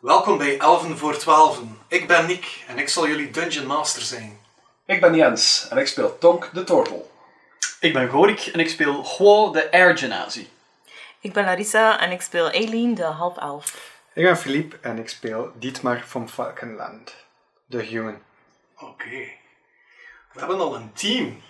Welkom bij Elven voor Twaalfen. Ik ben Nick en ik zal jullie Dungeon Master zijn. Ik ben Jens en ik speel Tonk de Tortel. Ik ben Gorik en ik speel Guo de Air Genasi. Ik ben Larissa en ik speel Eileen, de half-elf. Ik ben Philippe en ik speel Dietmar van Falkenland, de human. Oké. We hebben al een team.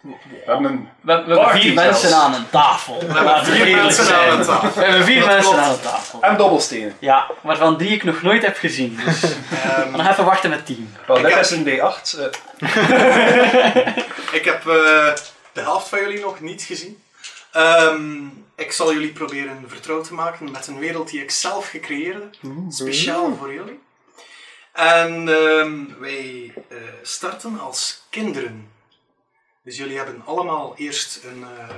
We hebben een We, we hebben Party vier zelfs. mensen aan een tafel. Laten we Vier eerlijk mensen zijn. aan de tafel. We hebben vier mensen klopt. aan de tafel. en dobbelstenen. Ja, waarvan drie ik nog nooit heb gezien. Dus Ehm, nog even wachten met tien. Wel, Ik dit heb- is een D8. eh, ik heb eh, de helft van jullie nog niet gezien. Ehm, ik zal jullie proberen vertrouwd te maken met een wereld die ik zelf gecreëerd heb. Speciaal voor jullie. En ehm, wij eh, starten als kinderen. Dus jullie hebben allemaal eerst een, eh,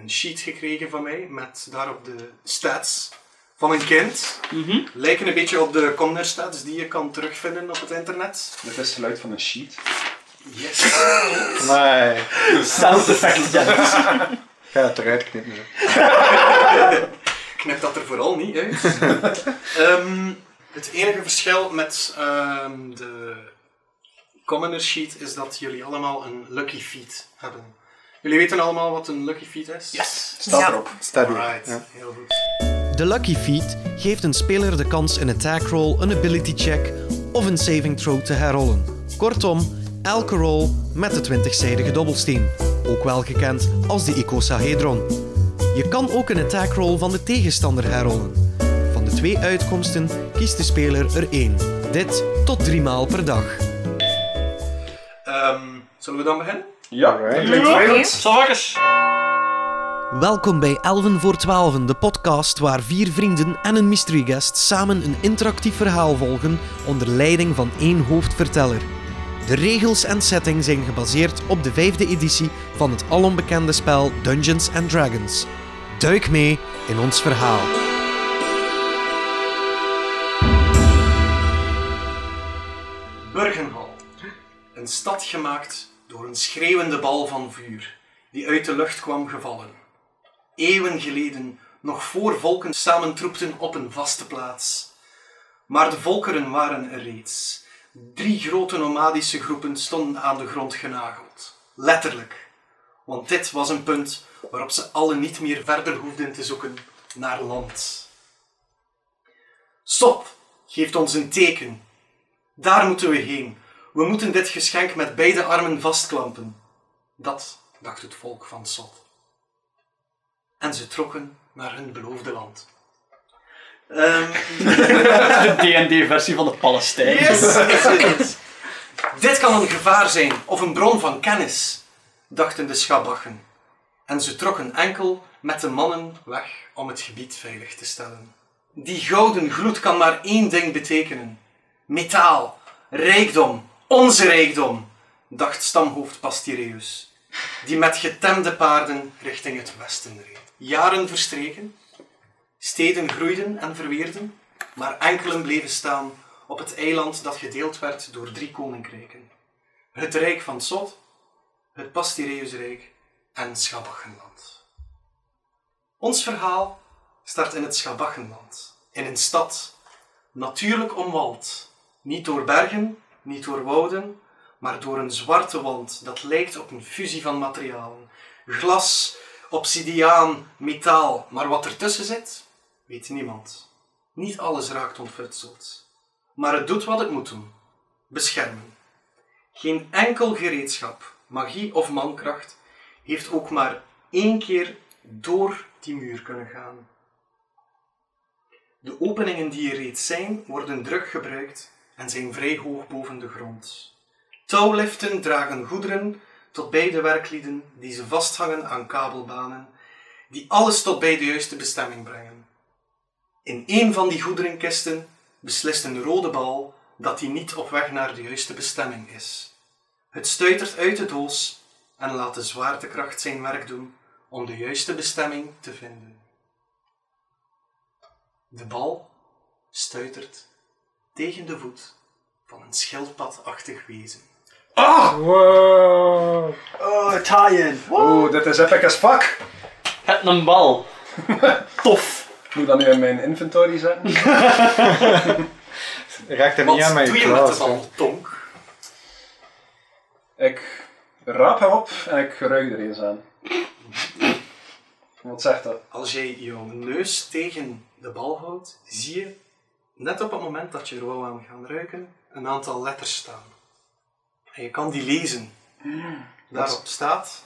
een sheet gekregen van mij met daarop de stats van een kind. Mhm. Lijken een beetje op de Comner stats die je kan terugvinden op het internet. dit is het geluid van een sheet. Yes. Nee, Sound effect, Jens. ik ga het eruit knippen. zo. Knip dat er vooral niet uit. Ehm, het enige verschil met ehm, de Commoner Sheet is dat jullie allemaal een Lucky Feet hebben. Jullie weten allemaal wat een Lucky Feet is? Yes. Staat Ja. erop. Staat hier. Right, Ja. heel goed. De Lucky Feat geeft een speler de kans een attack roll, een ability check of een saving throw te herrollen. Kortom, elke roll met de 20-zijdige dobbelsteen, ook wel gekend als de icosahedron. Je kan ook een attack roll van de tegenstander herrollen. Van de twee uitkomsten kiest de speler er één. Dit tot drie maal per dag. Ehm, zullen we dan beginnen? Ja, Alright. dat klinkt vervelend. Salvakkers. Welkom bij Elven voor Twaalfen, de podcast waar vier vrienden en een mystery guest samen een interactief verhaal volgen onder leiding van één hoofdverteller. De regels en setting zijn gebaseerd op de vijfde editie van het alombekende spel Dungeons and Dragons. Duik mee in ons verhaal. Burgenhal. Een stad gemaakt door een schreeuwende bal van vuur die uit de lucht kwam gevallen. Eeuwen geleden, nog voor volken samentroepten op een vaste plaats. Maar de volkeren waren er reeds. Drie grote nomadische groepen stonden aan de grond genageld. Letterlijk. Want dit was een punt waarop ze allen niet meer verder hoefden te zoeken naar land. Stop! Geeft ons een teken, daar moeten we heen. We moeten dit geschenk met beide armen vastklampen. Dat dacht het volk van Sot. En ze trokken naar hun beloofde land. Ehm, De D&D-versie van de Palestijn. yes, is het. Dit kan een gevaar zijn of een bron van kennis, dachten de schabachen. En ze trokken enkel met de mannen weg om het gebied veilig te stellen. Die gouden gloed kan maar één ding betekenen: metaal, rijkdom, onze rijkdom, dacht stamhoofd Pastireus, die met getemde paarden richting het westen reed. Jaren verstreken, steden groeiden en verweerden, maar enkelen bleven staan op het eiland dat gedeeld werd door drie koninkrijken: het Rijk van Sot, het Pastireusrijk en Schabachenland. Ons verhaal start in het Schabachenland, in een stad, natuurlijk omwald, niet door bergen, niet door wouden, maar door een zwarte wand dat lijkt op een fusie van materialen: glas, obsidiaan, metaal, maar wat ertussen zit, weet niemand. Niet alles raakt ontfutseld maar het doet wat het moet doen: beschermen. Geen enkel gereedschap, magie of mankracht heeft ook maar één keer door die muur kunnen gaan. De openingen die er reeds zijn, worden druk gebruikt en zijn vrij hoog boven de grond. Touwliften dragen goederen tot bij de werklieden die ze vasthangen aan kabelbanen, die alles tot bij de juiste bestemming brengen. In een van die goederenkisten beslist een rode bal dat hij niet op weg naar de juiste bestemming is. Het stuitert uit de doos en laat de zwaartekracht zijn werk doen om de juiste bestemming te vinden. De bal stuitert tegen de voet van een schildpadachtig wezen. Wow. Oh, tie-in. Oeh, dit is epic as fuck. Het een bal. Tof. Moet ik dat nu in mijn inventory zetten? Raakt er Wat niet aan mijn doe je met de klas. hè. bal, Tonk? Ik raap hem op en ik ruik er eens aan. Wat zegt dat? Als jij jouw neus tegen de bal houdt, zie je, net op het moment dat je er wou aan gaan ruiken, een aantal letters staan. En je kan die lezen. Daarop staat,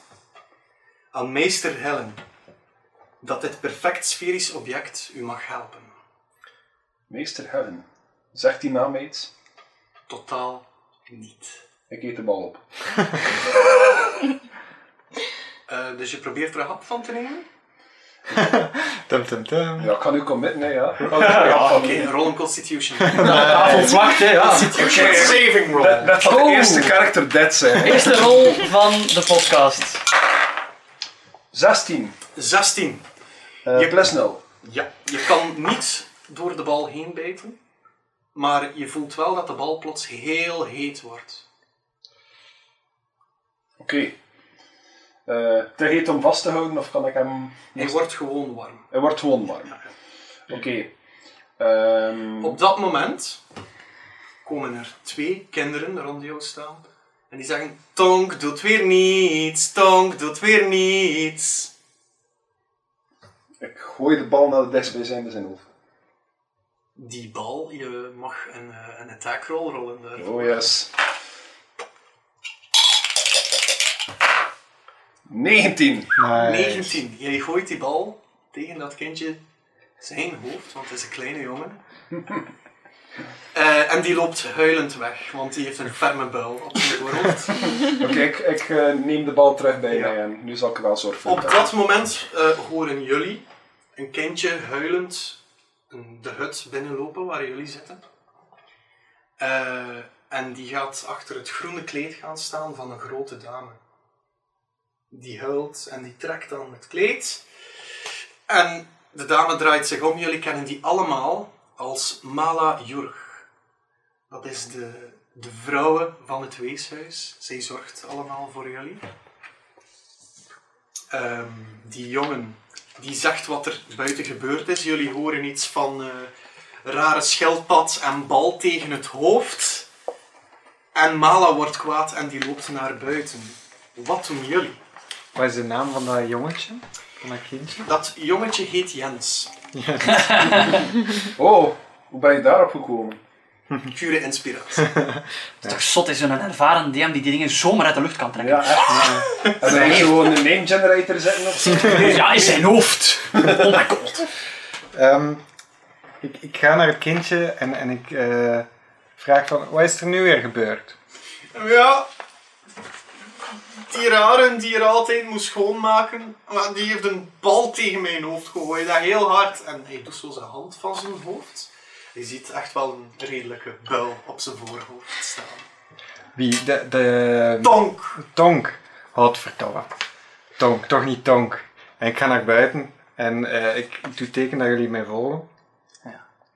aan meester Helen, dat dit perfect sferisch object u mag helpen. Meester Helen. Zegt die naam iets? Totaal niet. Ik eet de bal op. Eh, dus je probeert er een hap van te nemen? Tum tum tum. Ja, ik kan nu committen, hè, ja. Ik kan nu ja, Oké, een roll on constitution. Volwacht, Eh, hè, ja. Saving roll. Dat, dat zal de Oeh. eerste karakter dead zijn. Eerste rol van de podcast. 16. 16. Eh, Je- plus 0. Ja, je kan niet door de bal heen bijten, maar je voelt wel dat de bal plots heel heet wordt. Oké. Eh te heet om vast te houden of kan ik hem... Hij wordt gewoon warm. Hij wordt gewoon warm. Oké. Ehm Op dat moment komen er twee kinderen rond jou staan en die zeggen: Tonk doet weer niets, Tonk doet weer niets. ik gooi de bal naar de dichtstbijzijnde zijn hoofd. Die bal, je mag een, eh, een attack roll rollen daarvoor. Oh yes. 19. Nice. 19. Jij gooit die bal tegen dat kindje zijn hoofd, want het is een kleine jongen. Eh, en die loopt huilend weg, want die heeft een ferme buil op zijn voorhoofd. Oké, ik, ik eh, neem de bal terug bij Ja. mij en nu zal ik er wel zorgen voor Op dragen. dat moment eh, horen jullie een kindje huilend de hut binnenlopen waar jullie zitten. Eh, en die gaat achter het groene kleed gaan staan van een grote dame. Die huilt en die trekt dan het kleed. En de dame draait zich om. Jullie kennen die allemaal als Mala Jurg. Dat is de, de vrouwen van het weeshuis. Zij zorgt allemaal voor jullie. Ehm, die jongen, die zegt wat er buiten gebeurd is. Jullie horen iets van eh, rare schildpad en bal tegen het hoofd. En Mala wordt kwaad en die loopt naar buiten. Wat doen jullie? Wat is de naam van dat jongetje? Van dat kindje? Dat jongetje heet Jens. Oh, hoe ben je daarop gekomen? Pure inspiratie. Het is toch zot is een ervaren DM die die dingen zomaar uit de lucht kan trekken. Ja, echt. Hebben wij hier gewoon een name generator zitten of zo? Ja, is zijn hoofd. Oh mijn god. Ehm, ik, ik ga naar het kindje en, en ik eh, vraag van, wat is er nu weer gebeurd? ja. Die rare die er altijd moest schoonmaken, maar die heeft een bal tegen mijn hoofd gegooid. Dat heel hard. En hij doet zo zijn hand van zijn hoofd. Je ziet echt wel een redelijke buil op zijn voorhoofd staan. Wie? De, de Tonk! Tonk. Godverdomme. Tonk, toch niet Tonk. En ik ga naar buiten en eh, ik doe teken dat jullie mij volgen.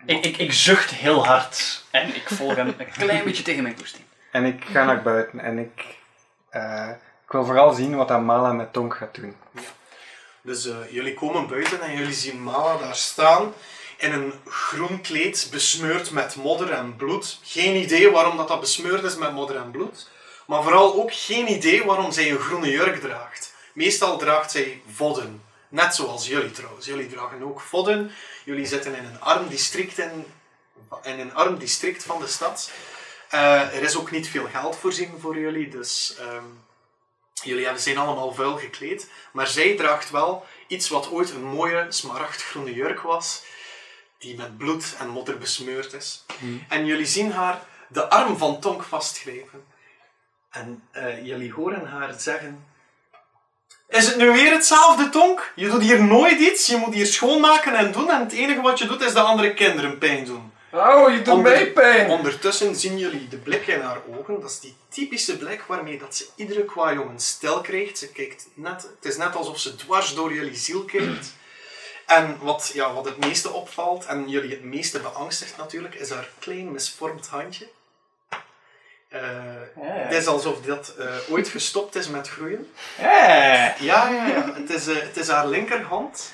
Ik, ik, ik zucht heel hard. En ik volg hem een klein beetje tegen mijn toesting. En ik ga naar buiten en ik, eh, ik wil vooral zien wat Amala met Tonk gaat doen. Dus eh, jullie komen buiten en jullie zien Mala daar staan in een groen kleed besmeurd met modder en bloed. Geen idee waarom dat, dat besmeurd is met modder en bloed. Maar vooral ook geen idee waarom zij een groene jurk draagt. Meestal draagt zij vodden. Net zoals jullie trouwens. Jullie dragen ook vodden. Jullie zitten in een arm district, in, in een arm district van de stad. Eh, er is ook niet veel geld voorzien voor jullie, dus... ehm, Jullie hebben- zijn allemaal vuil gekleed, maar zij draagt wel iets wat ooit een mooie smaragdgroene jurk was, die met bloed en modder besmeurd is. En jullie zien haar de arm van Tonk vastgrijpen. En eh, jullie horen haar zeggen: Is het nu weer hetzelfde, Tonk? Je doet hier nooit iets, je moet hier schoonmaken en doen, en het enige wat je doet is de andere kinderen pijn doen. Oh, je doet Onder- mij pijn! Ondertussen zien jullie de blik in haar ogen. Dat is die typische blik waarmee dat ze iedere qua jongen stil krijgt. Ze kijkt net, het is net alsof ze dwars door jullie ziel kijkt. En wat, ja, wat het meeste opvalt, en jullie het meeste beangstigt natuurlijk, is haar klein misvormd handje. Eh, Het is alsof dat eh, ooit gestopt is met groeien. Eh. Ja, ja, ja. Het is, eh, het is haar linkerhand.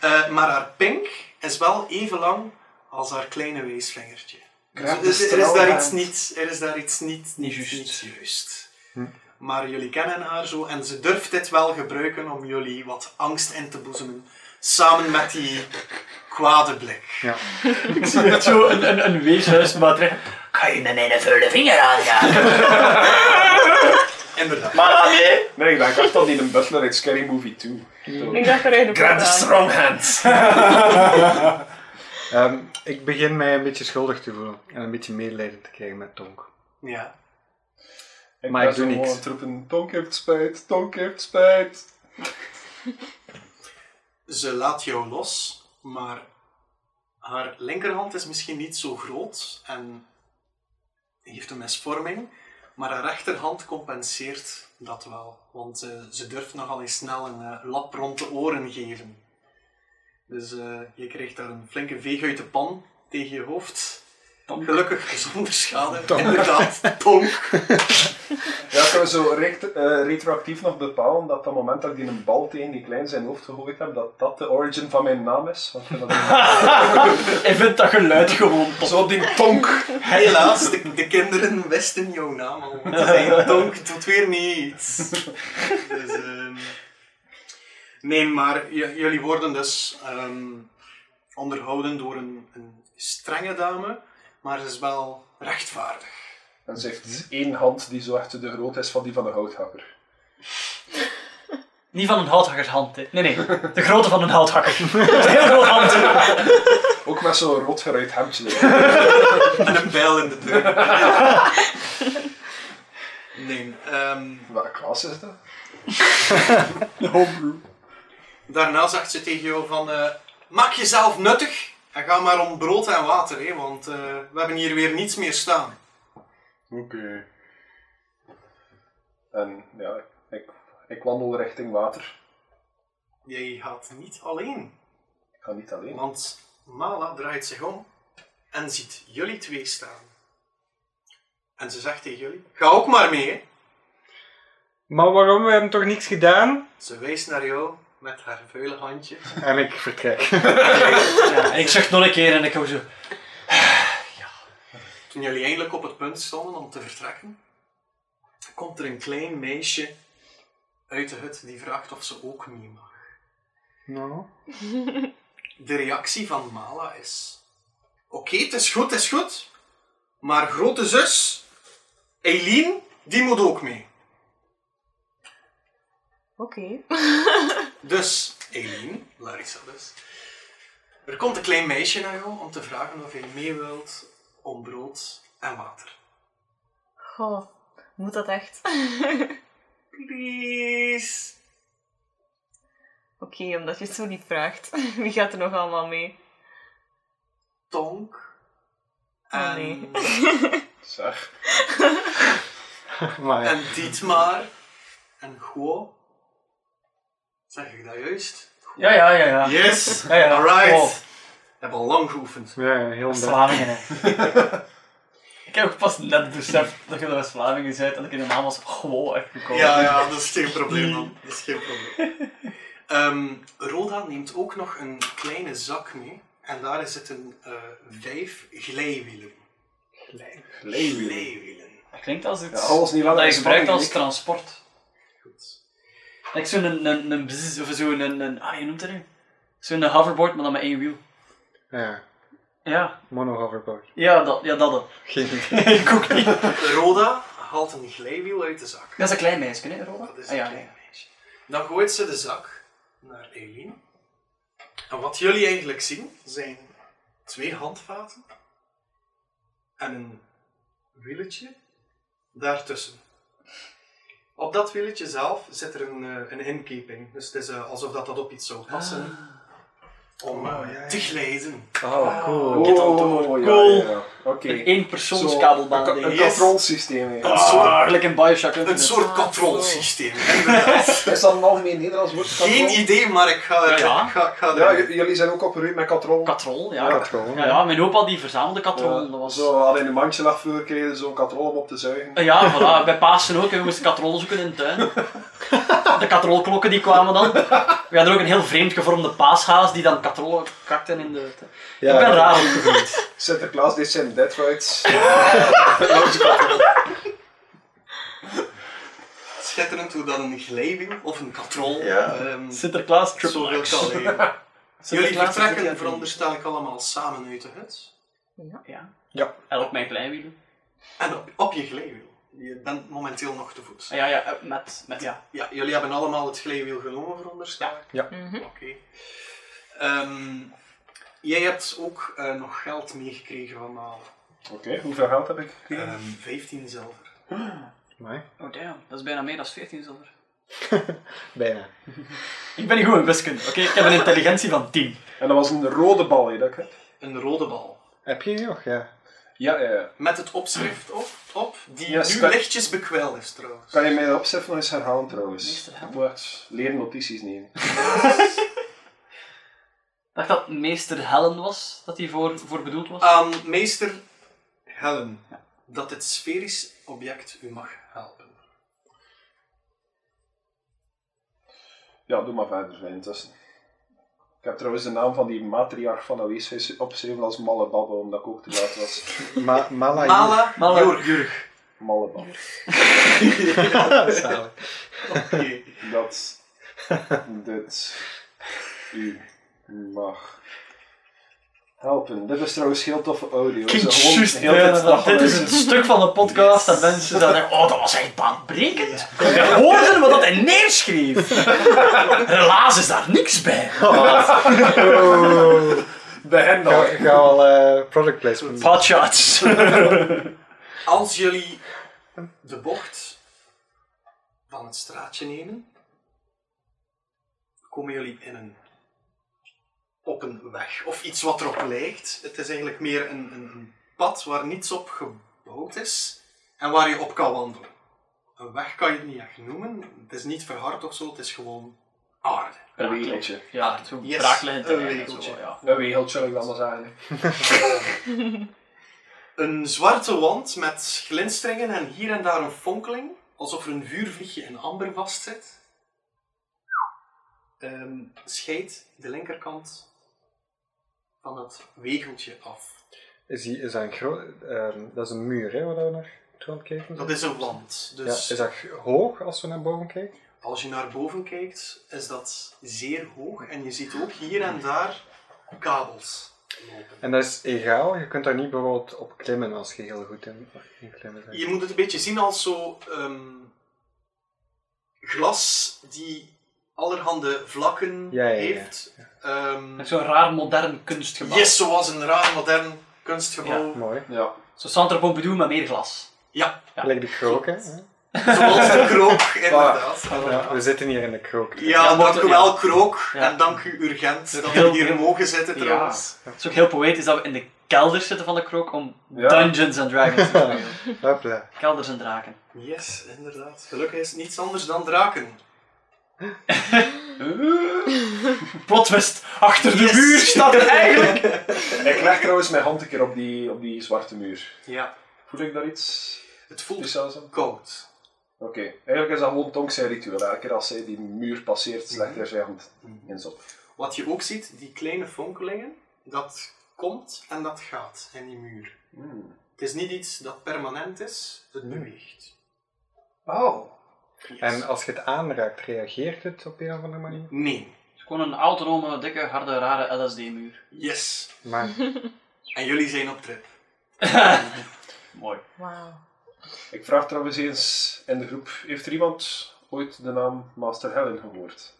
Eh, maar haar pink is wel even lang als haar kleine weesvingertje. Dus Kracht er is, is er is daar stralend. iets niet, er is daar iets niet, niet, juust. niet juist. Hm. Maar jullie kennen haar zo en ze durft dit wel gebruiken om jullie wat angst in te boezemen. Samen met die kwade blik. Ja. Ik zie net zo een, een, een weeshuis maar terecht. Kan je met mijn vuile vinger aangaan? Inderdaad. Maar nee. Nee, ik dacht dat die een butler uit Scary Movie 2. Ik dacht er eigenlijk ook aan. strong hands. Ehm, ik begin mij een beetje schuldig te voelen en een beetje medelijden te krijgen met Tonk. Ja. Maar ik doe niks. Troepen. Tonk heeft spijt, Tonk heeft spijt. Ze laat jou los, maar haar linkerhand is misschien niet zo groot en heeft een misvorming. Maar haar rechterhand compenseert dat wel, want eh, ze durft nogal eens snel een eh, lap rond de oren geven. Dus eh, je krijgt daar een flinke veeg uit de pan tegen je hoofd. Gelukkig zonder schade. Inderdaad, tonk. Ja, kunnen we zo recht- eh, retroactief nog bepalen dat dat moment dat ik die een bal tegen die klein zijn hoofd gegooid heb, dat dat de origin van mijn naam is? Want ik vind dat- Ik vind dat geluid gewoon tot. zo die tonk. Helaas, de, de kinderen wisten jouw naam al. Ze zeiden, Tonk doet weer niets. Dus, ehm, nee, maar j- jullie worden dus ehm, onderhouden door een, een strenge dame, maar ze is wel rechtvaardig. En ze heeft één hand die zo echt de grootte is van die van de houthakker. Niet van een houthakkershand, hè. Nee, nee. De grootte van een houthakker. Dat is een heel groot hand. Ook met zo'n rotgeruit hemdje. En een bijl in de deur. Nee, ehm, Welke klas is dat? daarna zegt ze tegen jou van, eh, maak jezelf nuttig en ga maar om brood en water, hè, want eh, we hebben hier weer niets meer staan. Oké. En ja, ik, ik wandel richting water. Jij gaat niet alleen, Ik ga niet alleen. want Mala draait zich om en ziet jullie twee staan. En ze zegt tegen jullie: Ga ook maar mee. hè." Maar waarom? We hebben toch niets gedaan? Ze wijst naar jou met haar vuile handje. En ik vertrek. Ja, en ik zucht nog een keer en ik hou zo... Toen jullie eindelijk op het punt stonden om te vertrekken, komt er een klein meisje uit de hut die vraagt of ze ook mee mag. Nou. De reactie van Mala is: Oké, het is goed, het is goed. Maar grote zus, Eileen, die moet ook mee. Oké. Dus, Eileen, Larissa dus. Er komt een klein meisje naar jou om te vragen of je mee wilt om brood en water. Goh, moet dat echt? Please. Oké, omdat je het zo niet vraagt. Wie gaat er nog allemaal mee? Tonk. En, Oh, nee. Zeg. Maar ja. en Dietmar. En Guo. Zeg ik dat juist? Ja, ja, ja, ja. Yes! Ja, ja. Alright. Wow. Ik heb al lang geoefend. Ja, heel dag. Vlamingen, hè. ik heb ook pas net beseft dat je de West-Vlamingen bent en dat ik in de naam als gewoon echt gekomen. Ja, ja, dat is geen probleem, man. Dat is geen probleem. Ehm, Roda neemt ook nog een kleine zak mee. En daarin zitten eh, vijf glijwielen. Leeuwen. Glijwielen. Dat klinkt als iets Ja, alles niet langer dat je spanning, gebruikt als ik- transport. Goed. Ik zo'n een, een, een bzz, of zo'n een, een, ah, je noemt dat nu? Zo'n hoverboard, maar dan met één wiel. Ja, Ja, mono-hoverboard. ja, dat, ja, dat. dan. Geen idee. ik ook niet. Roda haalt een glijwiel uit de zak. Dat is een klein meisje, hè, Roda? Dat is Ah, een ja, klein ja. meisje. Dan gooit ze de zak naar Eileen. En wat jullie eigenlijk zien, zijn twee handvaten en een wieletje daartussen. Op dat wieletje zelf zit er een, eh, een inkeping. Dus het is eh, alsof dat, dat op iets zou passen. Ah. Om eh, te glijden. Oh, Ah, cool. Oh, ja, ja, ja. Oké. Een Zo, éénpersoonskabelbaan een ka- ding. Een Yes. controlsysteem. hè. Een soort- Ah, gelijk in Bioshock Een Infinite. soort controlesysteem. inderdaad. Is dat een algemeen Nederlands woord? Geen control? idee, maar ik ga, er, Ja. ik ga, ik ga Ja, er. j- jullie zijn ook opgeruimd met katrol. Katrol, ja. Dat gewoon. Ja, ja, mijn opa die verzamelde katrol. Ja, dat was... Zo, we hadden in een mandje lag vroeger, kregen ze zo'n katrol om op te zuigen. Eh, Ja, voilà. Bij Pasen ook. hè. We moesten katrol zoeken in de tuin. De katrolklokken die kwamen dan. We hadden ook een heel vreemd gevormde paashaas die dan katrollen kakten in de tuin. Ja, ik ben ja. raar opgegroeid. Sinterklaas deed zijn dead rights. Schitterend hoe dat een glijwiel of een katrol Ja. ehm, Sinterklaas zoveel triple X. kan leveren. Jullie Sinterklaas vertrekken, Sinterklaas. veronderstel ik, allemaal samen uit de hut. Ja. Ja. Elk mijn kleinwielen. En op, op je glijwiel. Je bent momenteel nog te voet. Ah, Ja, ja, eh, met, met ja. Ja, jullie hebben allemaal het glijwiel genomen, veronderstel ik. Ja. Mhm. Oké. Ehm, jij hebt ook eh, nog geld meegekregen van Malen. Oké, hoeveel geld heb ik gekregen? Ehm 15 zilver. Amai. Oh damn, dat is bijna meer dan 14 zilver. Bijna. Ik ben niet goed in wiskunde, oké? Ik heb een intelligentie van 10. En dat was een rode bal, hè, dat ik heb. Een rode bal. Heb je die nog? Ja. Ja, ja, ja. Met het opschrift op, op die Yes, nu kan- lichtjes bekwijld is trouwens. Kan je mij dat opzet nog eens herhalen trouwens? Meester Helm. Ik moet leren notities nemen. Ik dacht dat meester Helen was, dat hij voor, voor bedoeld was. Aan meester Helen dat dit sferisch object u mag helpen. Ja, doe maar verder, Sven, intussen. Ik heb trouwens de naam van die matriarch van de weeshuis opgeschreven als Mallebabbe, omdat ik ook te laat was. Ma Mala. Mala, Mala Jorg. Mallebabbe. Zalig. Oké. Dat dit u mag helpen. Dit is trouwens heel toffe audio. Kind, Ze gewoon juist heel de tijd bijna dat. Dit is een nageluisterd. stuk van de podcast dat mensen dan denken, oh, dat was echt baanbrekend. We hoorden wat dat hij neerschreef. Helaas is daar niks bij. Oh. Bij hen dan. Ga, ga al eh, product placement. doen. Hotshots. Als jullie de bocht van het straatje nemen, komen jullie in een, op een weg. Of iets wat erop lijkt. Het is eigenlijk meer een, een een pad waar niets op gebouwd is en waar je op kan wandelen. Een weg kan je het niet echt noemen. Het is niet verhard of zo, het is gewoon aarde. Een wegeltje. Ja, zo'n Yes, braakliggend een terrein en wegeltje. zo, ja. Een wegeltje, wil ik dan maar zeggen. Een zwarte wand met glinsteringen en hier en daar een fonkeling, alsof er een vuurvliegje in amber vastzit. Ehm scheidt de linkerkant van dat wegeltje af. Is, die, is dat een groot... ehm, dat is een muur, hè, waar we naar toe aan het kijken zijn? Dat is een wand. Ja, Dus is dat hoog als we naar boven kijken? als je naar boven kijkt, is dat zeer hoog. En je ziet ook hier en daar kabels lopen. En dat is egaal. Je kunt daar niet bijvoorbeeld op klimmen als je heel goed in, in klimmen bent. Je moet het een beetje zien als zo ehm, glas die allerhande vlakken Ja, ja, ja. heeft. Ehm, Met zo'n raar modern kunstgebouw. Yes, zoals een raar modern kunstgebouw. Mooi. Ja. Zo Centre Pompidou, maar meer glas. Ja, Ja. Lijkt de krook, hè? Ja. zoals de krook, inderdaad. Ja, we zitten hier in de krook. Ja, maar- dank u wel, krook. Ja. En dank u, Urgent, dat we Heel- hier mogen zitten Ja. trouwens. Het is ook heel poëtisch dat we in de kelder zitten van de krook om Ja. Dungeons and Dragons te spelen. Hopla. Kelders en draken. Yes, inderdaad. Gelukkig is het niets anders dan draken. Plot twist, achter de Yes. muur staat er eigenlijk... Ik leg trouwens mijn hand een keer op die, op die zwarte muur. Ja, Voel ik daar iets het voelt speciaals aan? koud. Oké. Eigenlijk is dat gewoon Tonk zijn ritueel. Elke keer als zij die muur passeert, legt hij zijn hand in zo. Wat je ook ziet, die kleine fonkelingen, dat komt en dat gaat in die muur. Het is niet iets dat permanent is, het beweegt. Oh. Yes. En als je het aanraakt, reageert het op een of andere manier? Nee. Het is gewoon een autonome, dikke, harde, rare LSD-muur. Yes. Maar En jullie zijn op trip. Mooi. Wauw. Ik vraag trouwens eens in de groep, heeft er iemand ooit de naam Master Helen gehoord?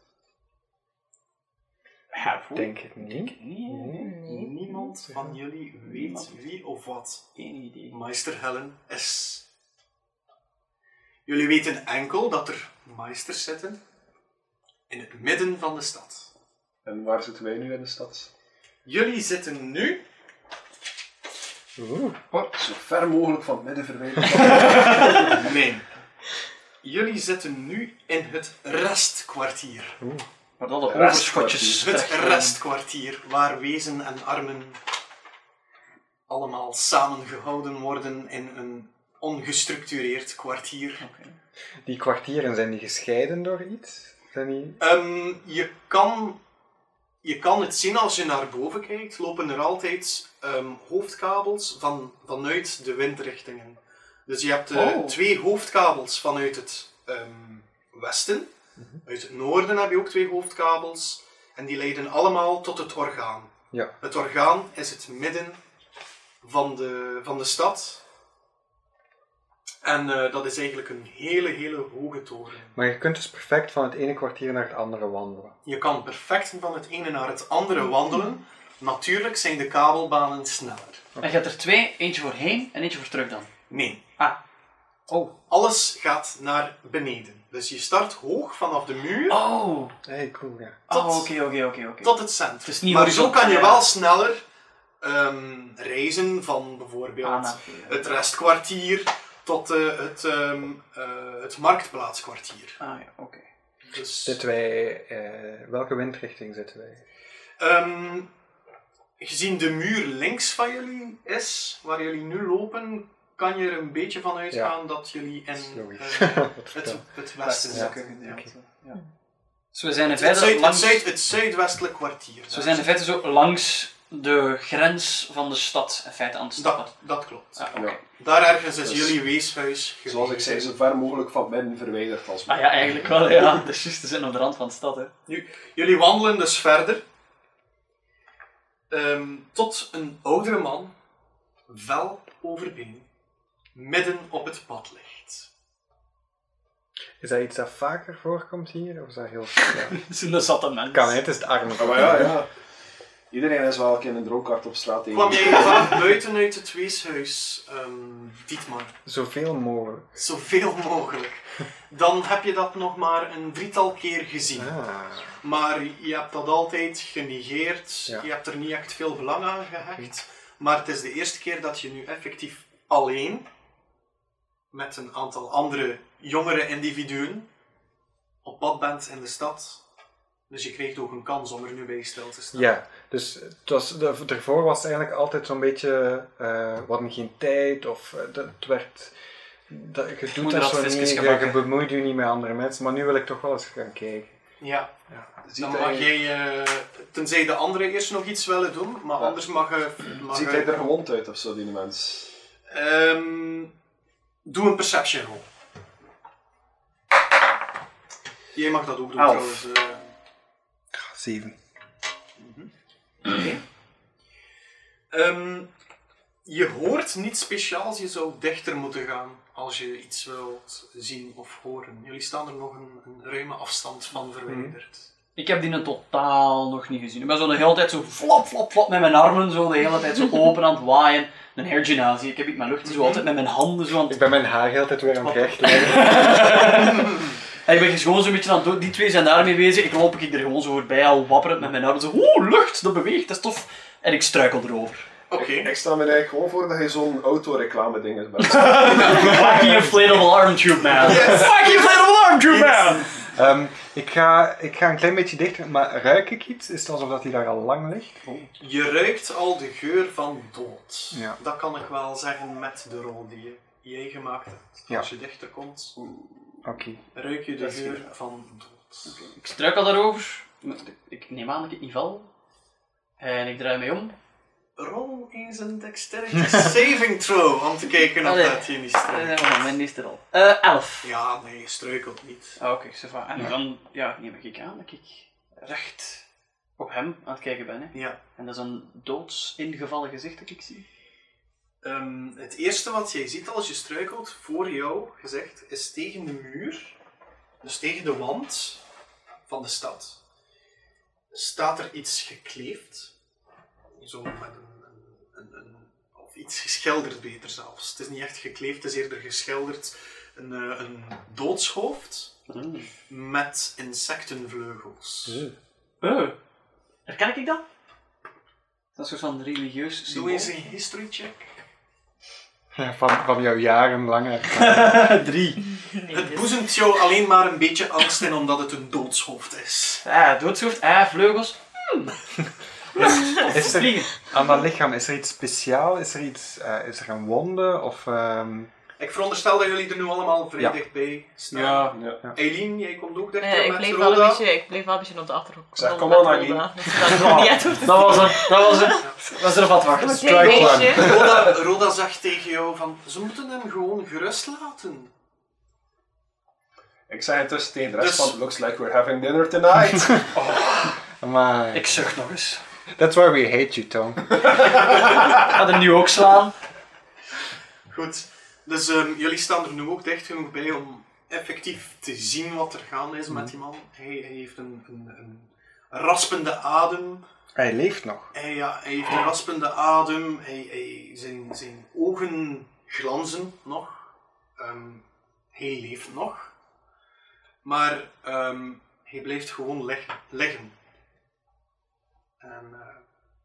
Ja, voel- denk ik niet. Nee, Nee. Nee. Niemand van jullie weet wie of wat geen idee. Meister Helen is. Jullie weten enkel dat er meisters zitten in het midden van de stad. En waar zitten wij nu in de stad? Jullie zitten nu Zo ver mogelijk van het midden verwijderd. Nee. Jullie zitten nu in het restkwartier. Maar dat de Restkwartier. overschotjes. Het terechtkomen. restkwartier waar wezen en armen allemaal samengehouden worden in een ongestructureerd kwartier. Die kwartieren, zijn die gescheiden door iets? Zijn die... Ehm, je, kan, je kan het zien als je naar boven kijkt, lopen er altijd ehm, hoofdkabels van, vanuit de windrichtingen. Dus je hebt eh, Oh. twee hoofdkabels vanuit het ehm, westen. Uit het noorden heb je ook twee hoofdkabels. En die leiden allemaal tot het orgaan. Ja. Het orgaan is het midden van de, van de stad. En eh, dat is eigenlijk een hele, hele hoge toren. Maar je kunt dus perfect van het ene kwartier naar het andere wandelen. Je kan perfect van het ene naar het andere wandelen. Natuurlijk zijn de kabelbanen sneller. En je hebt er twee, eentje voor heen en eentje voor terug dan. Nee, Ah. Oh. alles gaat naar beneden. Dus je start hoog vanaf de muur Oh. hey, cool, ja. Tot- Oh, oké, oké, oké, oké. tot het centrum. Het is niet maar zo horizontaal, kan je ja. wel sneller ehm, reizen van bijvoorbeeld Ah, nou, oké. het restkwartier tot eh, het, ehm, eh, het marktplaatskwartier. Ah, ja, oké. Dus, Zitten wij... eh, welke windrichting zitten wij? ehm, gezien de muur links van jullie is, waar jullie nu lopen, kan je er een beetje van uitgaan dat jullie Dat is in logisch. eh, Wat Het, vertel. het Westen westen. ja. Ja. ja. ja. Dus we zijn Het, in het, feite zuid, het, langs... zuid, het zuidwestelijk kwartier. dus we zijn in feite zo langs de grens van de stad in feite aan het stappen. dat, dat klopt. Ah, oké. Ja. Daar ergens is Dus- jullie weeshuis geweest. Zoals ik zei, zo ver mogelijk van het midden verwijderd als Ah ja, eigenlijk wel, ja. Dat is juist, we zijn op de rand van de stad, hè. Nu, jullie wandelen dus verder. Ehm, tot een oudere man, wel overbeen, midden op het pad ligt. Is dat iets dat vaker voorkomt hier? Of is dat heel... Ja. Zo'n zatte mens. kan, hè? het is het arme. Ah, maar ja, ja. Iedereen is wel een keer een droogkaart op straat Kwam tegen. jij vanaf buiten uit het weeshuis, ehm Dietmar? Zoveel mogelijk. Zoveel mogelijk. Dan heb je dat nog maar een drietal keer gezien. Ah. Maar je hebt dat altijd genegeerd. Ja. Je hebt er niet echt veel belang aan gehecht. Maar het is de eerste keer dat je nu effectief alleen met een aantal andere jongere individuen op pad bent in de stad. Dus je kreeg ook een kans om er nu bij stil te staan. Ja, dus het was, de, daarvoor was het eigenlijk altijd zo'n beetje, eh we hadden geen tijd of eh, dat, het werd, dat, je doet Moet dat dat zo niet, visjes je, gebakken. je bemoeit je niet met andere mensen, maar nu wil ik toch wel eens gaan kijken. Ja, Ziet Dan mag hij, jij, eh, tenzij de anderen eerst nog iets willen doen, maar Ja. anders mag je... mag ziet je- hij er gewond uit of zo, die mens? Ehm, doe een perception roll. Jij mag dat ook doen Elf. trouwens. eh. Zeven. Ehm, je hoort niet speciaals, je zou dichter moeten gaan als je iets wilt zien of horen. Jullie staan er nog een, een ruime afstand van verwijderd. Ik heb die in totaal nog niet gezien. Ik ben zo de hele tijd zo flop, flop, flop met mijn armen zo de hele tijd zo open aan het waaien. Een hergymnasie. Ik heb iets mijn lucht zo altijd met mijn handen zo aan het... Ik ben mijn haar heel tijd weer aan het recht leggen. En ik ben dus gewoon zo'n beetje aan het doen. Die twee zijn daarmee bezig. Ik loop ik er gewoon zo voorbij, al wapperend met mijn armen. Zo, oeh, lucht, dat beweegt, dat is tof. En ik struikel erover. Oké, Mhm. Ik stel me er eigenlijk gewoon voor dat je zo'n autoreclame ding is. Fuck you, inflatable arm tube man. Fuck you, inflatable arm tube man. Ehm, ik, ga, ik ga een klein beetje dichter, maar ruik ik iets? Is het alsof dat hij daar al lang ligt? je ruikt al de geur van dood. Ja. Dat kan ik wel zeggen met de rol die je, jij gemaakt hebt. Ja. Als je dichter komt, Oké. ruik je de geur van dood. Ik struikel daarover. Ik neem aan dat ik het niet val. En ik draai mij om. Rol eens een dexterity saving throw om te kijken of Allee. dat je niet Eh, struikelt. oh, mijn is er al. Eh, elf. Ja, nee, je struikelt niet. Ah, Oké, ça va. En dan ja, neem ik aan dat ik recht op hem aan het kijken ben. Hè. Ja. En dat is een doodsingevallen gezicht dat ik zie. Ehm, het eerste wat jij ziet als je struikelt, voor jou gezegd, is tegen de muur, dus tegen de wand van de stad, staat er iets gekleefd. Zo met een, een, een, of iets geschilderd beter zelfs. Het is niet echt gekleefd, het is eerder geschilderd. Een, eh, een doodshoofd met insectenvleugels. Eh, Herken ik dat? Dat is een soort van religieus Doe symbool. eens een history check. Ja, van, van jouw jarenlange ervaring. Drie. Het dus- boezemt jou alleen maar een beetje angst in omdat het een doodshoofd is. Ah, doodshoofd. Ah, vleugels. Is er, Vliegen. aan dat lichaam, is er iets speciaal? Is er, iets, eh, is er een wonde? Of, ehm, Ik veronderstel dat jullie er nu allemaal vrij Ja. dicht bij staan. Ja. ja. Eileen, jij komt ook dichter Nee, ik met bleef, wel Rhoda. een beetje, ik bleef wel een beetje op de achterhoek. Zeg, rollen kom aan, met Aline. Rhoda, Dat ze dat nog niet uit hoeft te Dat was er. Dat was er. Dat was er wat wacht. doen. Een klein one. beetje. Roda, Roda zegt tegen jou van, ze moeten hem gewoon gerust laten. Ik zei het dus tegen de rest Dus- van, looks like we're having dinner tonight. maar, Ik zucht nog eens. that's why we hate you, Tom. Ik ga er nu ook slaan. Goed, dus ehm, jullie staan er nu ook dicht genoeg bij om effectief te zien wat er gaande is met die man. Hij, hij heeft een, een, een raspende adem. Hij leeft nog. Hij, ja, hij heeft een raspende adem. Hij, hij, zijn, zijn ogen glanzen nog. Ehm, hij leeft nog. Maar ehm, hij blijft gewoon leg- liggen. En, eh,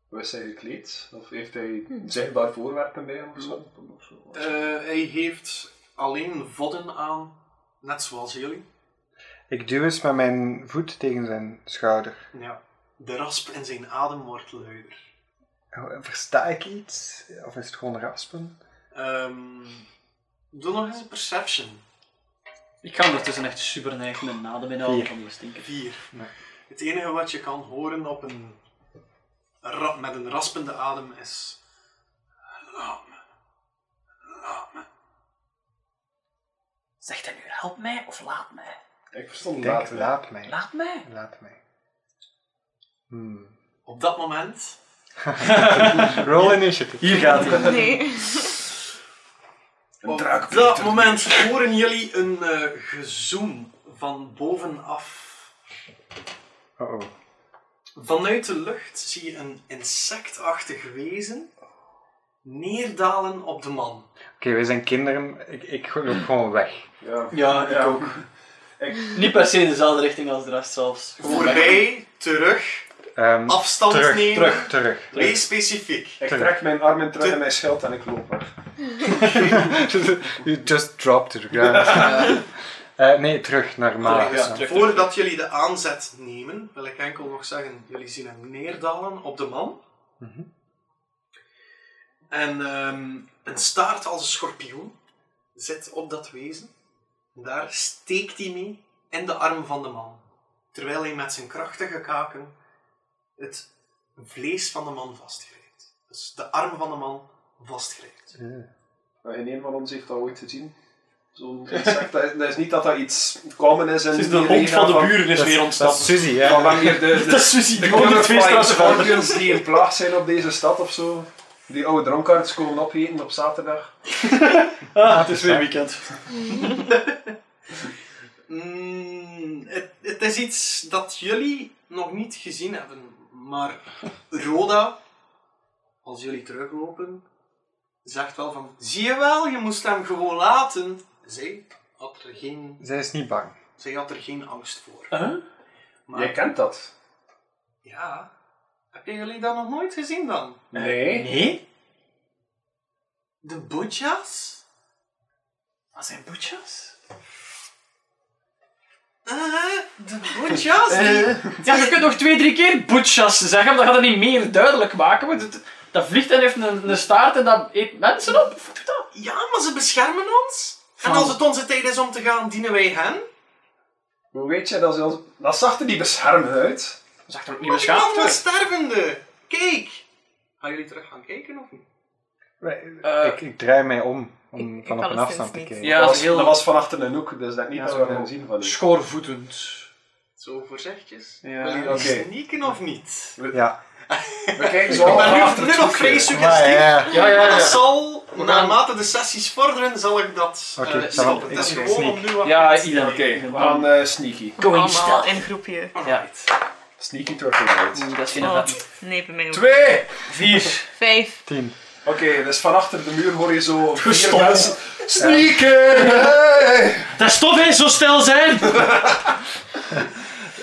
Was hij gekleed? Of heeft hij zichtbaar voorwerpen bij hem? of zo? Eh, hij heeft alleen vodden aan, net zoals jullie. Ik duw eens met mijn voet tegen zijn schouder. Ja. De rasp in zijn adem wordt luider. Oh, Versta ik iets? Of is het gewoon raspen? Ehm, doe nog eens een perception. Ik ga ondertussen echt super neig met naden binnen Vier. van die stinken. Vier. Nee. Het enige wat je kan horen op een ra- met een raspende adem is... Laat me. Laat me. Zegt hij nu, help mij of laat mij? Ik verstond Ik het denk, later. laat mij. Laat mij. Laat mij. Hmm. Op dat moment... Roll initiative. Hier gaat hij. Nee. Op dat moment horen jullie een eh, gezoem van bovenaf. Oh oh. Vanuit de lucht zie je een insectachtig wezen neerdalen op de man. Oké, wij zijn kinderen. Ik, ik loop gewoon weg. Ja. Ja, ik Ja. ook. Niet per se in dezelfde richting als de rest zelfs. Gewoon weg. Voorbij, terug, Ehm, afstand terug, nemen. terug, terug. Wees specifiek. Ik Terug. trek mijn armen terug Te- in mijn schild en ik loop weg. you just dropped to the ground. Eh, nee, terug naar Mara. Terug, ja. Voordat jullie de aanzet nemen, wil ik enkel nog zeggen, jullie zien hem neerdalen op de man. Mhm. En ehm, een staart als een schorpioen zit op dat wezen. Daar steekt hij mee in de arm van de man. Terwijl hij met zijn krachtige kaken het vlees van de man vastgrijpt. Dus de arm van de man vastgrijpt. Maar geen een van ons heeft dat ooit gezien. Zo'n insect. dat, is- dat is niet dat dat iets common is in Het is de die hond regio van de buren is Dat is- weer Dat is ontsnapt. Suzy, hè? Van wanneer de, de, Dat is Suzy, de die woont twee colorflying straten verder. scorpions die een plaag zijn op deze stad of zo. Die oude dronkaards komen opeten op zaterdag. Ah, het is weer weekend. Mm, het, het is iets dat jullie nog niet gezien hebben. Maar Roda, als jullie teruglopen, zegt wel van... Zie je wel, je moest hem gewoon laten. Zij had er geen, Zij is niet bang. zij had er geen angst voor. Huh? Maar, Jij kent dat? Ja. Hebben jullie dat nog nooit gezien dan? Nee. Nee? De Butchas? Dat zijn boetjes? Eh, de Butchas? die- Ja, je kunt nog twee, drie keer boetjas zeggen, maar dat gaat het niet meer duidelijk maken. Want het- dat vliegt en heeft een, een staart en dat eet mensen op. Hoe doet dat? Ja, maar ze beschermen ons. En Van- als het onze tijd is om te gaan, dienen wij hen. Hoe weet je dat ze ons... Dat zag er niet beschermd uit. Dat zag er ook niet Maar die man beschaafd was uit. stervende. Kijk. Gaan jullie terug gaan kijken of niet? Wij- Eh, ik, ik draai mij om, om ik- ik van op een alleszins afstand te niet. kijken. Ja, dat, dat was, is heel dat was van achter een hoek, dus dat niet Ja, dat zo. we hem zien van u. schoorvoetend. Zo voorzichtig. Ja, Wil je oké. sneaken of niet? Ja. We kijken zo Ik ben allemaal nu, achter nu het nog hoekje. vrij Maar, suggestief. ja. Ja, ja, Maar dat ja. zal, gaan- naarmate de sessies vorderen, zal ik dat eh, Oké, dan stoppen. ik Het is sneak. gewoon om nu wat Ja, mensen- iedereen. Oké, we gaan eh, sneaky. Going Allemaal stealth. in groepje. Ja. Sneaky turtle uit. Oeh, Dat is geen Oh, vet. nee, bij mij ook. Twee! Vier. Vijf. Tien. Oké, dus van achter de muur hoor je zo vier Gestopt. mensen... Sneaken! Hey! Dat is tof, hè? Zo stil zijn!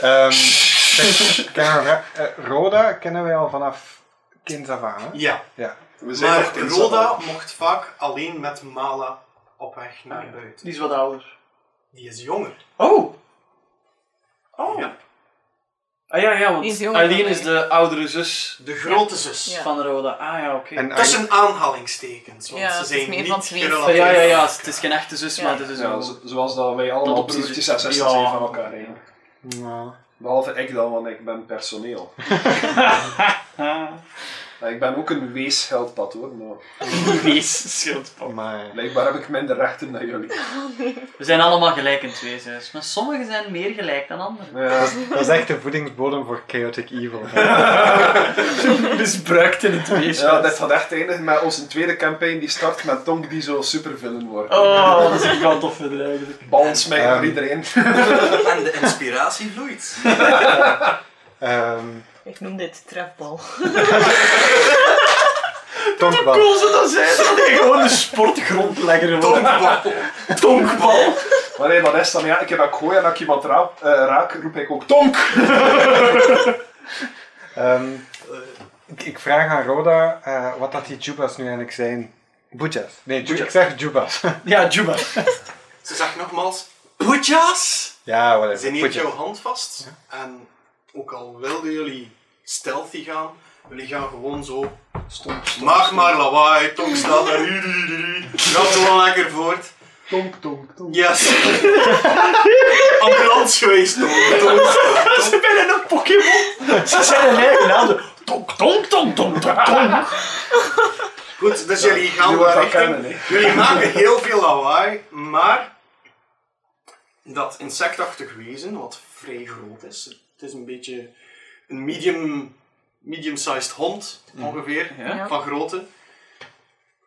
Ehm, zeg, kennen we- eh, Roda kennen wij al vanaf kind af aan, hè? Ja. Ja. We zijn echt Maar in Roda Zappel. mocht vaak alleen met Mala op weg naar buiten. Die is wat ouder. Die is jonger. Oh! Oh. Ah ja, ja, Die is want jonger Aileen dan is ik. de oudere zus De grote zus. Ja. van Roda. Ah ja, oké. En Tussen aanhalingstekens, want Ja, ze het is zijn meer niet van twee. Ja, gerelateerd. ja, ja, ja, het is geen echte zus, Ja. maar het is Ja, wel... zo- zoals dat wij allemaal Dat precies- broertjes en zusters Ja. zijn van elkaar. hè. Ja. Behalve ik dan, want ik ben personeel. Ah. Ja, Ik ben ook een weesgeldpad hoor, maar Wees, schildpad. Maar blijkbaar heb ik minder rechten dan jullie. We zijn allemaal gelijk in het weeshuis, maar sommigen zijn meer gelijk dan anderen. Ja, dat is echt de voedingsbodem voor Chaotic Evil. Misbruikt in het weeshuis. ja, dit gaat echt eindigen met onze tweede campagne die start met Tonk die zo supervillain wordt. Oh, dat is een kant of eigenlijk. Balans mij Ehm. voor iedereen. En de inspiratie vloeit. Ehm Ik noem dit trefbal. Tonkbal. ze dat zijn, dat hij gewoon een sportgrondlegger wordt. Tonkbal. Tonkbal. Maar nee, dat is dan ja, ik heb ook gooi en als ik iemand raap, eh, raak, roep ik ook Tonk! Ehm, ik, ik vraag aan Roda eh, wat dat die Jubas nu eigenlijk zijn. Bujas. Nee, Ju- Bujas. ik zeg Jubas. Ja, Juba. Ze zegt nogmaals, poetjas! ja, whatever. Ze neemt Bujas. jouw hand vast. En ook al wilden jullie stealthy gaan, jullie gaan gewoon zo... Maak maar lawaai, tong staat er. Ga gewoon lekker voort. Tonk, tonk, tonk. Yes. Ambulance geweest, tong. Tong staat. Ze zijn een Pokémon. Ze zijn een eigen naam. zo, Tonk, tonk, tonk, tonk, tonk, tonk. Goed, dus jullie gaan nu daar wordt dat richting. kennen, hè. jullie maken heel veel lawaai, maar dat insectachtig wezen, wat vrij groot is, het is een beetje een medium, medium-sized hond ongeveer, Ja. van grootte,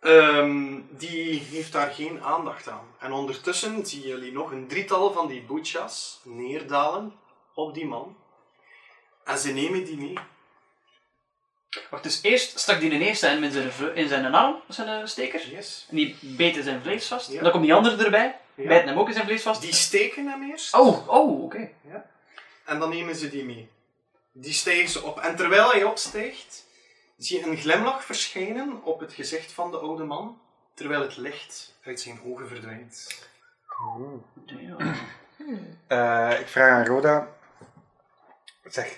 ehm, die heeft daar geen aandacht aan. En ondertussen zien jullie nog een drietal van die boetjas neerdalen op die man. En ze nemen die mee. Wacht, dus eerst stak die een eerste hand in zijn, vl- in zijn arm, zijn eh, steker. Yes. En die beten zijn vlees vast. Ja. Dan komt die andere erbij. Ja. Bijten hem ook in zijn vlees vast. Die steken hem eerst. Oh, oh, oké. En dan nemen ze die mee. Die stijgen ze op. En terwijl hij opstijgt, zie je een glimlach verschijnen op het gezicht van de oude man, terwijl het licht uit zijn ogen verdwijnt. Ja. Eh, ik vraag aan Roda. Zeg,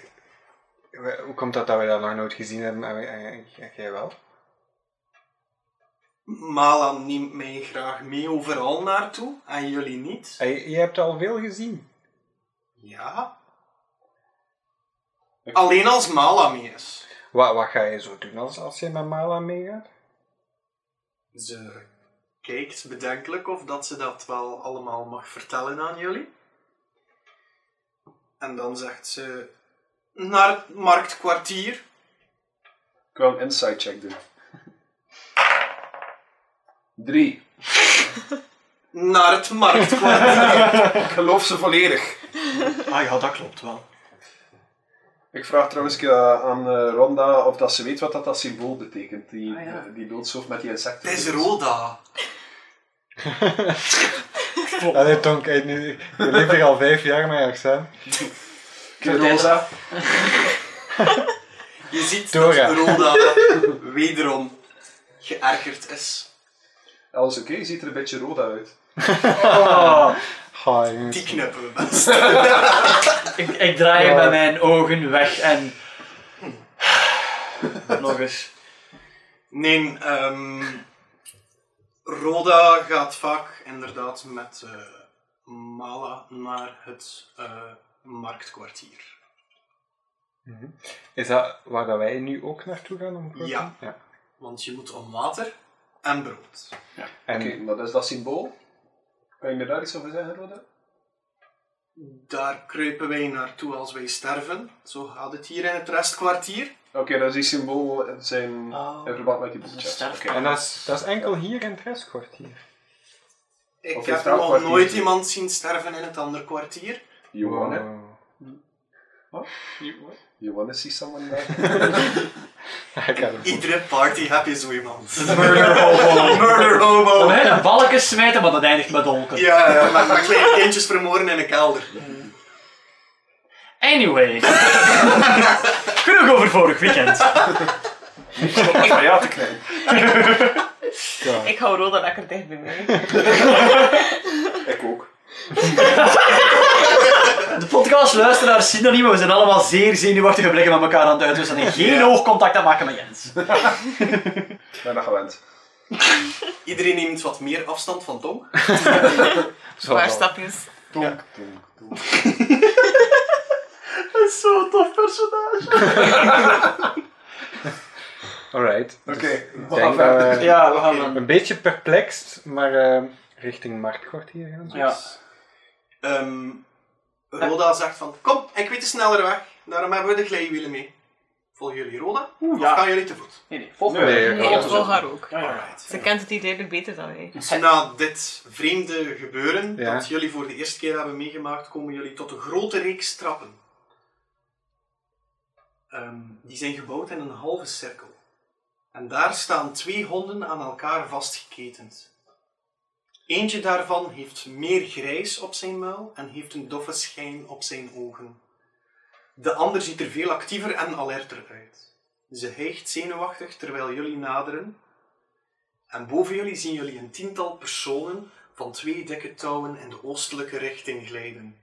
we- hoe komt dat dat we dat nog nooit gezien hebben en, we- en- en- en jij wel? Mala neemt mij graag mee overal naartoe, en jullie niet. Eh, je, je hebt al veel gezien. Ja. Alleen als Mala mee is. Wat, wat ga je zo doen als, als je met Mala meegaat? Ze kijkt bedenkelijk of dat ze dat wel allemaal mag vertellen aan jullie. En dan zegt ze... Naar het marktkwartier. Ik wil een inside check doen. Drie. Naar het marktkwartier. Ik geloof ze volledig. Ah ja, dat klopt wel. Ik vraag trouwens eh, aan eh, Ronda of dat ze weet wat dat, dat symbool betekent. Die, Ah, ja. eh, die doodshoofd met die insecten. Het is Roda. Allee, Tonk, eh, nu, je leeft hier al vijf jaar met je accent. Kijk, Rosa. Je ziet Dora. dat Roda wederom geërgerd is. Alles oké, je ziet er een beetje rood uit. Ga, jongens. Die knippen we best. Ik, ik draai Ja. met mijn ogen weg en... Nog eens. Nee, ehm, Roda gaat vaak inderdaad met eh, Mala naar het eh, marktkwartier. Is dat waar dat wij nu ook naartoe gaan? Om te Ja. ja. Want je moet om water en brood. En Oké, wat is dat symbool? Kan je me daar iets over zeggen, Roda? Daar kruipen wij naartoe als wij sterven. Zo gaat het hier in het restkwartier. Oké, dat is die symbool eh, zijn Oh. in verband met die Dat is een boekjes. sterf- Oké. En dat is, dat is enkel hier in het restkwartier. Ik Of is heb dat nog kwartier? nooit iemand zien sterven in het andere kwartier. You Oh. wanna? Oh. Wat? You wanna see someone there? Ik had hem. Iedere party heb je zo iemand. Murder hobo. Murder hobo. Dan ga je naar balken smijten, maar dat eindigt met dolken. Ja, ja, maar, maar kleine kindjes vermoorden in een kelder. Anyway. Genoeg over vorig weekend. Om ja te krijgen. Ik hou Roda lekker dicht bij mij. Ik ook. De podcastluisteraars zien dat niet, maar we zijn allemaal zeer zenuwachtige blikken met elkaar aan het uitwisselen. En geen oogcontact aan maken met Jens. Ik ben dat gewend. Iedereen neemt wat meer afstand van Tom. Zo, Een paar zo. stapjes. Tonk, tonk, tonk. Dat is zo'n tof personage. Alright. Eh, Oké, we Ik gaan denk dat verder. we Ja, we gaan dan. een beetje perplex, maar eh, richting marktkwartier gaan. zo. Ja. Ehm, Roda zegt van, kom, ik weet de snellere weg. Daarom hebben we de glijwielen mee. Volgen jullie Roda? Of ja. gaan jullie te voet? Nee, nee, volg me. Nee. Nee, Nee, ja. ik Oh. volg haar ook. Ja, ja. Alright. Ze kent het hier duidelijk beter dan wij. Dus na dit vreemde gebeuren Ja. dat jullie voor de eerste keer hebben meegemaakt, komen jullie tot een grote reeks trappen. Ehm, die zijn gebouwd in een halve cirkel. En daar staan twee honden aan elkaar vastgeketend. Eentje daarvan heeft meer grijs op zijn muil en heeft een doffe schijn op zijn ogen. De ander ziet er veel actiever en alerter uit. Ze hijgt zenuwachtig terwijl jullie naderen en boven jullie zien jullie een tiental personen van twee dikke touwen in de oostelijke richting glijden.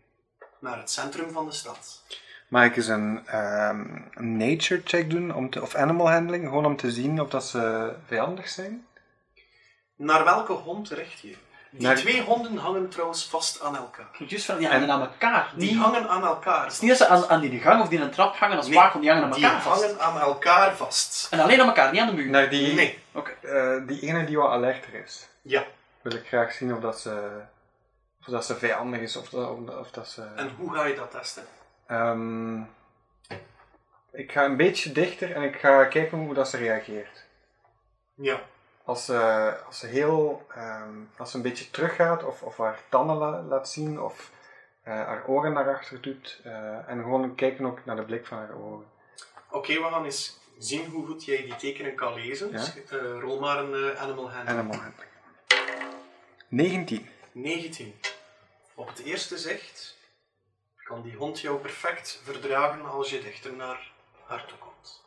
Naar het centrum van de stad. Mag ik eens een ehm, een nature check doen, om te, of animal handling, gewoon om te zien of dat ze vijandig zijn? Naar welke hond richt je? Die Naar- twee honden hangen trouwens vast aan elkaar. Just van die hangen aan elkaar. Die Die hangen aan elkaar. Het is niet dat ze aan, aan die gang of die een trap hangen als Nee, vaak, want die hangen aan Die elkaar vast. hangen aan elkaar vast. En alleen aan elkaar, niet aan de muur. Naar die, Nee. Oké. eh, die ene die wat alerter is. Ja. Wil ik graag zien of dat ze, of dat ze vijandig is, of dat, of dat- of dat ze... En hoe ga je dat testen? Ehm, ik ga een beetje dichter en ik ga kijken hoe dat ze reageert. Ja. Als ze, als ze heel, ehm, als ze een beetje teruggaat of, of haar tanden la- laat zien of eh, haar oren naar achter doet. eh, en gewoon kijken ook naar de blik van haar ogen. Oké, we gaan eens zien hoe goed jij die tekenen kan lezen. Ja. Dus, eh, rol maar een eh, animal hand. Animal handling. 19. 19. Op het eerste zicht kan die hond jou perfect verdragen als je dichter naar haar toe komt.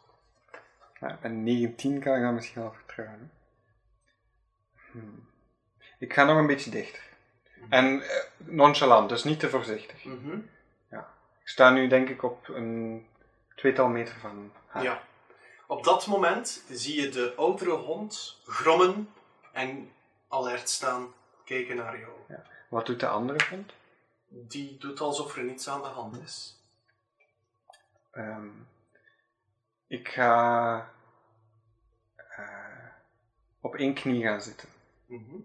Ja, en 19 kan ik dan misschien wel vertrouwen. hè. Hmm. Ik ga nog een beetje dichter. En eh, nonchalant, dus niet te voorzichtig. Ik sta nu denk ik op een tweetal meter van haar. Ja. Op dat moment zie je de oudere hond grommen en alert staan, kijken naar jou. Wat doet de andere hond? Die doet alsof er niets aan de hand is. Ehm, ik ga eh, op één knie gaan zitten. Mhm.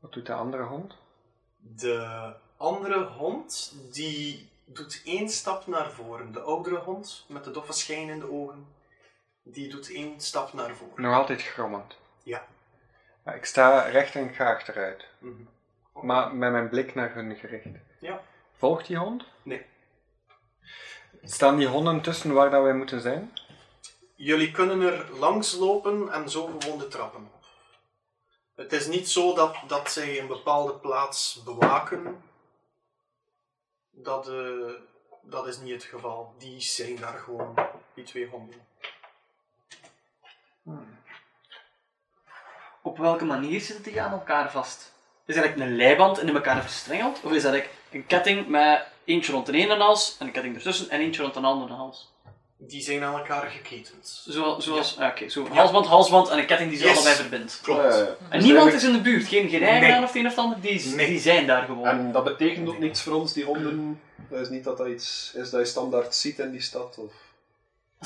Wat doet de andere hond? De andere hond die doet één stap naar voren. De oudere hond met de doffe schijn in de ogen, die doet één stap naar voren. Nog altijd grommend. Ja. Ja, Ik sta recht en ik ga achteruit. Mhm. Maar met mijn blik naar hun gericht. Ja. Volgt die hond? Nee. Staan die honden tussen waar dat wij moeten zijn? Jullie kunnen er langs lopen en zo gewoon de trappen op. Het is niet zo dat, dat zij een bepaalde plaats bewaken. Dat, eh, dat is niet het geval. Die zijn daar gewoon, die twee honden. Op welke manier zitten die aan elkaar vast? Is dat eigenlijk een leiband en in elkaar verstrengeld? Of is dat eigenlijk een ketting met eentje rond de ene hals, en een ketting ertussen en eentje rond de andere hals? Die zijn aan elkaar geketend. Zo, zoals, ah, oké, zo halsband, halsband en een ketting die ze Yes. allebei verbindt. Eh, Klopt. En niemand is dus eigenlijk- in de buurt, geen gerijden Nee. of het een of het ander, die, Nee. die zijn daar gewoon. En dat betekent ook niets voor ons, die honden. Dat is niet dat dat iets is dat je standaard ziet in die stad. Of...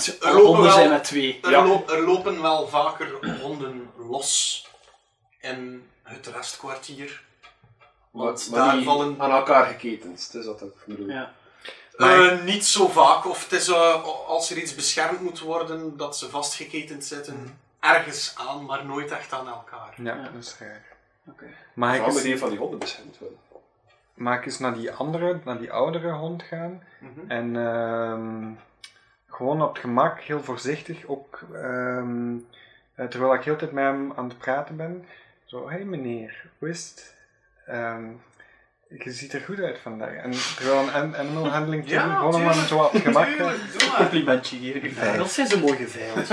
Ze er lopen honden wel- zijn met twee. Er, Ja. lo- er lopen wel vaker honden los in het restkwartier. Want daar niet vallen- aan elkaar geketend. Het is dat ook. bedoel. Ja. Maar- Eh, niet zo vaak. Of het is, eh, als er iets beschermd moet worden, dat ze vastgeketend Mhm. zitten. Ergens aan, maar nooit echt aan elkaar. Ja, Ja. dat is raar. Oké. Mag ik, Vooral met eens, die van die honden beschermd worden. mag ik eens naar die andere, naar die oudere hond gaan? Mhm. En ehm, gewoon op het gemak, heel voorzichtig, ook ehm, eh, terwijl ik heel de tijd met hem aan het praten ben. Zo, hé hey meneer, wist, Ehm, Je ziet er goed uit vandaag. En terwijl een an- animal handling team Ja, gewoon omdat het tuurlijk. zo had gemaakt heeft. Tuurlijk, doe maar. Complimentje hier. gedaan. Vijf. Dat zijn ze mooi geveild.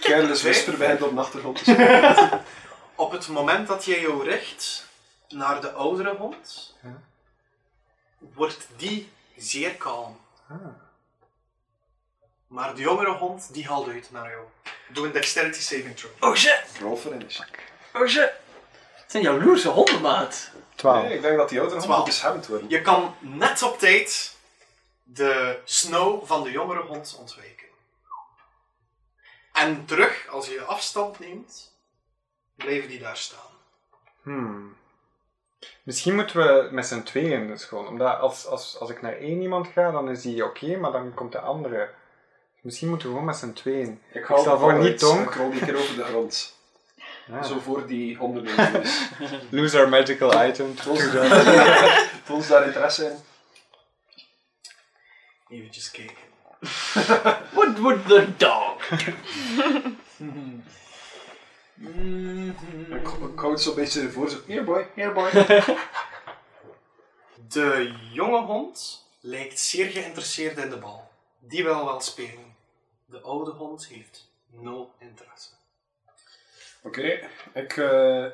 Careless Twee. Whisper begint Dus op de achtergrond. Op het moment dat jij jou richt naar de oudere hond, Ja. wordt die zeer kalm. Ah. Maar de jongere hond, die haalt uit naar jou. Doe een dexterity saving throw. Oh shit, Roll for initiative. oh shit. Het zijn jaloerse honden, maat. Twaalf. Nee, ik denk dat die ouderen Twaalf. hond beschermd worden. Je kan net op tijd de snow van de jongere hond ontwijken. En terug, als je afstand neemt, blijven die daar staan. Hmm. Misschien moeten we met z'n tweeën dus gewoon. Omdat als, als, als ik naar één iemand ga, dan is die oké, maar dan komt de andere. Misschien moeten we gewoon met z'n tweeën. Ik stel de voor bal niet uit. donk. Ik rol die keer over de grond. Ja. Zo voor die ondernemers. Lose our magical item. Volgens daar, volgens daar interesse in. Eventjes kijken. What would the dog? Ik, ik hou het zo'n beetje voor. Zo, here boy, here boy. De jonge hond lijkt zeer geïnteresseerd in de bal. Die wil wel spelen. De oude hond heeft nul interesse. Oké, ik. eh,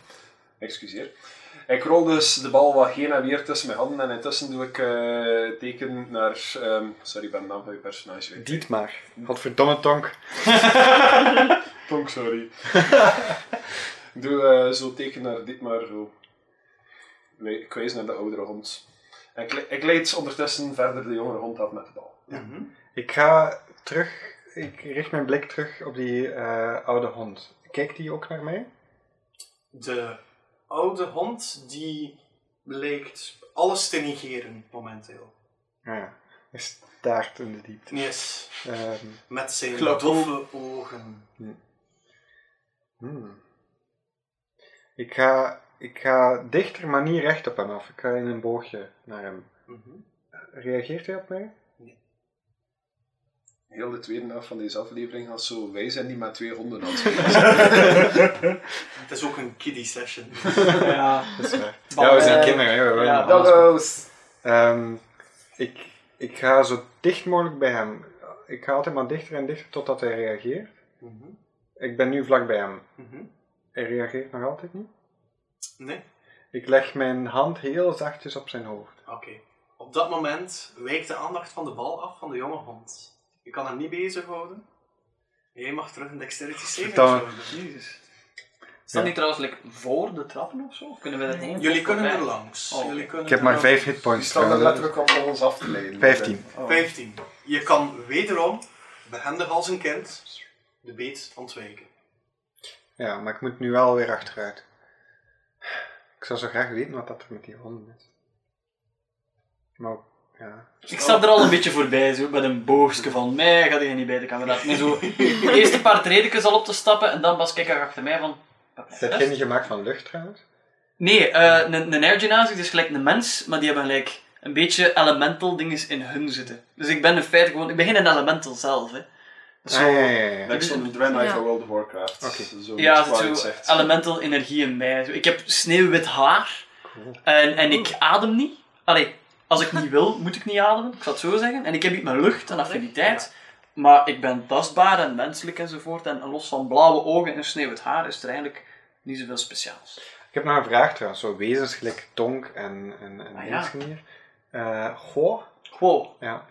excuseer. Ik rol dus de bal wat heen en weer tussen mijn handen en intussen doe ik eh, teken naar. ehm, sorry, ik ben de naam van je personage. weet. Dietmar. Godverdomme tonk. Tonk, sorry. ik doe eh, zo teken naar dit maar zo. Nee, ik wijs naar de oudere hond. En ik, le- ik leid ondertussen verder de jongere hond af met de bal. Ik ga terug. Ik richt mijn blik terug op die eh, oude hond. Kijkt die ook naar mij? De oude hond die lijkt alles te negeren momenteel. Ah Ja. Hij staart in de diepte. Yes. Ehm, Met zijn Klopt. doffe ogen. hmm. Ik, ga, ik ga dichter, maar niet recht op hem af. Ik ga in een boogje naar hem. Mhm. Reageert hij op mij? Heel de tweede helft van deze aflevering gaat zo. Wij zijn die met twee honden aan het spelen. Het is ook een kiddie session. Ja. Dat is waar. Ja, we zijn kinderen. Ja, Ja, normaal. Doggo's! Ehm, ik, ik ga zo dicht mogelijk bij hem. Ik ga altijd maar dichter en dichter totdat hij reageert. Mhm. Ik ben nu vlak bij hem. Mhm. Hij reageert nog altijd niet. Nee? Ik leg mijn hand heel zachtjes op zijn hoofd. Oké. Op dat moment wijkt de aandacht van de bal af van de jonge hond. Je kan hem niet bezighouden. Jij mag terug een dexterity saving Verdomme. throw doen. Jezus. Staan die trouwens like, voor de trappen of zo? Of kunnen we erheen? Jullie kunnen er Voorbij? langs. Oh, Jullie kunnen Ik heb er maar langs. 5 Die hitpoints. staan er trouwens. letterlijk op om ons af te leiden. 15. Oh. 15. Je kan wederom, behendig als een kind, de beet ontwijken. Ja, maar ik moet nu wel weer achteruit. Ik zou zo graag weten wat dat er met die honden is. Maar, ja. Ik sta er al een beetje voorbij, zo, met een boogstje van mij gaat hij niet bij de kameraad. Nee, zo, de eerste paar tredekjes al op te stappen en dan pas kijk ik achter mij van... Heb jij niet gemaakt van lucht trouwens? Nee, eh, een een airgenasis is gelijk een mens, maar die hebben gelijk een beetje elemental dingen in hun zitten. Dus ik ben in feite gewoon... Ik begin een elemental zelf, hè. Dus zo- Ah, ja, ja, ja, ja. Next on the Drenai Ja. van World of Warcraft. Oké. Zo Ja, iets er waar zit het zo zegt. elemental energie in mij. Zo, Ik heb sneeuwwit haar Cool. en, en ik adem niet. Allee, als ik niet wil, moet ik niet ademen. Ik zal het zo zeggen. En ik heb niet mijn lucht en affiniteit. Maar ik ben tastbaar en menselijk enzovoort. En los van blauwe ogen en sneeuwwit haar is er eigenlijk niet zoveel speciaals. Ik heb nog een vraag trouwens. Zo wezens gelijk Tonk en, en, en Ah, ja. mensen hier. Eh, goh. Wow, Ja.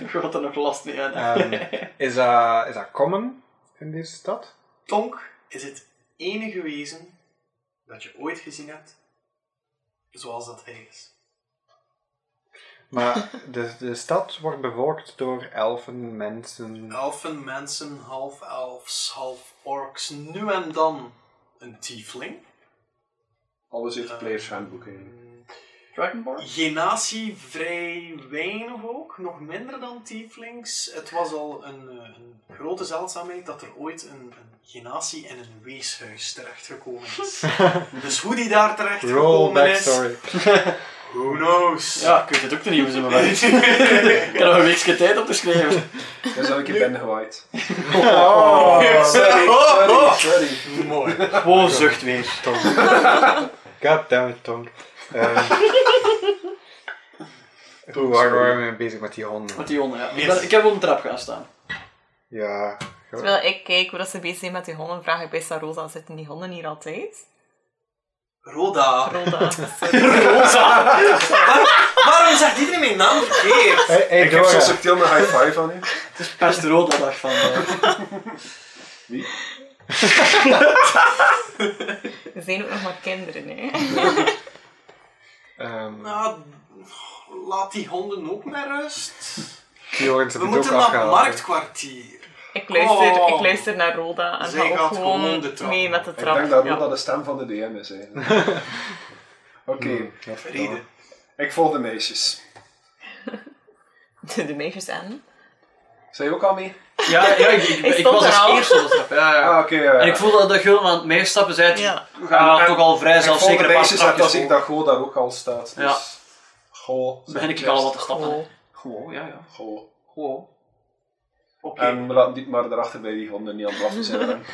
ik had er nog last mee uit. Ehm, is, dat, is dat common in deze stad? Tonk is het enige wezen dat je ooit gezien hebt zoals dat hij is. Maar de, de stad wordt bevolkt door elfen, mensen. Elfen, mensen, half elfs, half orks, nu en dan een tiefling. Alles uit de Players Handbook heen. Dragonborn? Genatie vrij weinig ook, nog minder dan tieflings. Het was al een, eh, een grote zeldzaamheid dat er ooit een, een genatie in een weeshuis terechtgekomen is. dus hoe die daar Roll terechtgekomen is, backstory. who knows. Ja, ik weet het ook niet hoe ze me werken. Ik heb nog een weekje tijd op te schrijven. Daar zou ik je ben gewaaid. Sorry, Oh! Sorry, sorry. Mooi. Wow, zucht weer. God damn it, Tonk. Ehm, Hoe waar waren we bezig met die honden? Met die honden, ja. Ik, Yes. ben- ik heb op een trap gaan staan. Ja, ge- Terwijl ik kijk hoe dat ze bezig zijn met die honden, vraag ik bij Rosa, zitten die honden hier altijd? Roda. Roda. Waarom zegt iedereen mijn naam verkeerd? hey, hey, Ik geef zo Dora. subtiel een high five aan u. Het is best rood dat dag van. eh, Ze zijn ook nog maar kinderen, hè. Ehm, Nou, laat die honden ook met rust. Joris We heeft het ook moeten naar het afgehaald. hè. marktkwartier. Ik luister, Oh. ik luister naar Roda en Zij ga gaat ook gewoon, gewoon de trap mee op. met de Ik trap. denk dat ja. Roda de stem van de DM is. hè. Oké, Ja, verdomme. Vrede. ik volg de meisjes. De, de meisjes en. Zijn je ook al mee? Ja, ja ik, ik, Ik ik stond was er al. als eerste op de trap. Ja, ja. Ah, oké. ja. En ik voelde dat de gul aan het meestappen zei. het, Ja. We gaan En- nou toch al vrij Ik volg de zelfzeker een paar meisjes en dan trapjes zie ik hoger. dat Go daar ook al staat. Dus... Ja. Go. begin ik al wat te stappen. Cool. Gewoon, ja, ja. Go. Gewoon. Oké. Ehm, En we laten dit maar erachter bij die honden niet aan het wachten zijn.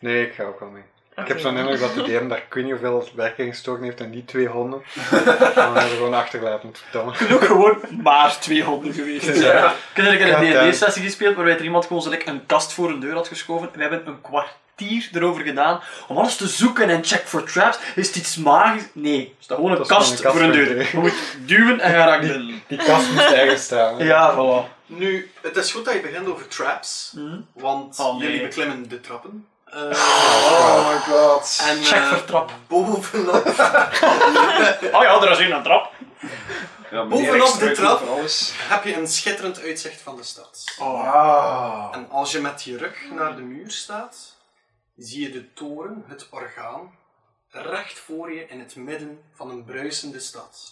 Nee, ik ga ook wel mee. Ik Oké. heb zo'n indruk dat de DM daar ik weet niet hoeveel werk in gestoken heeft en die twee honden. Maar we hebben gewoon achtergelaten, verdomme. ook gewoon maar 200 geweest. Ja. Ik heb eigenlijk God een damn. D&D-sessie gespeeld waarbij er iemand gewoon zo like, een kast voor een deur had geschoven. We hebben een kwartier erover gedaan om alles te zoeken en check for traps. Is het iets magisch? Nee, het is gewoon een, Dat is kast, gewoon een kast voor een voor deur. een deur. Je moet duwen en je raakt binnen. Die kast moest ergens staan. Ja, voilà. Nu, het is goed dat je begint over traps, want Oh, nee. jullie beklimmen de trappen. Eh, Oh my god. en Check eh, voor trap. bovenop, Oh ja, er is hier een trap. Ja, meneer, bovenop ik de struikel trap. over alles. heb je een schitterend uitzicht van de stad. Ah. En als je met je rug naar de muur staat, zie je de toren, het orgaan, recht voor je in het midden van een bruisende stad.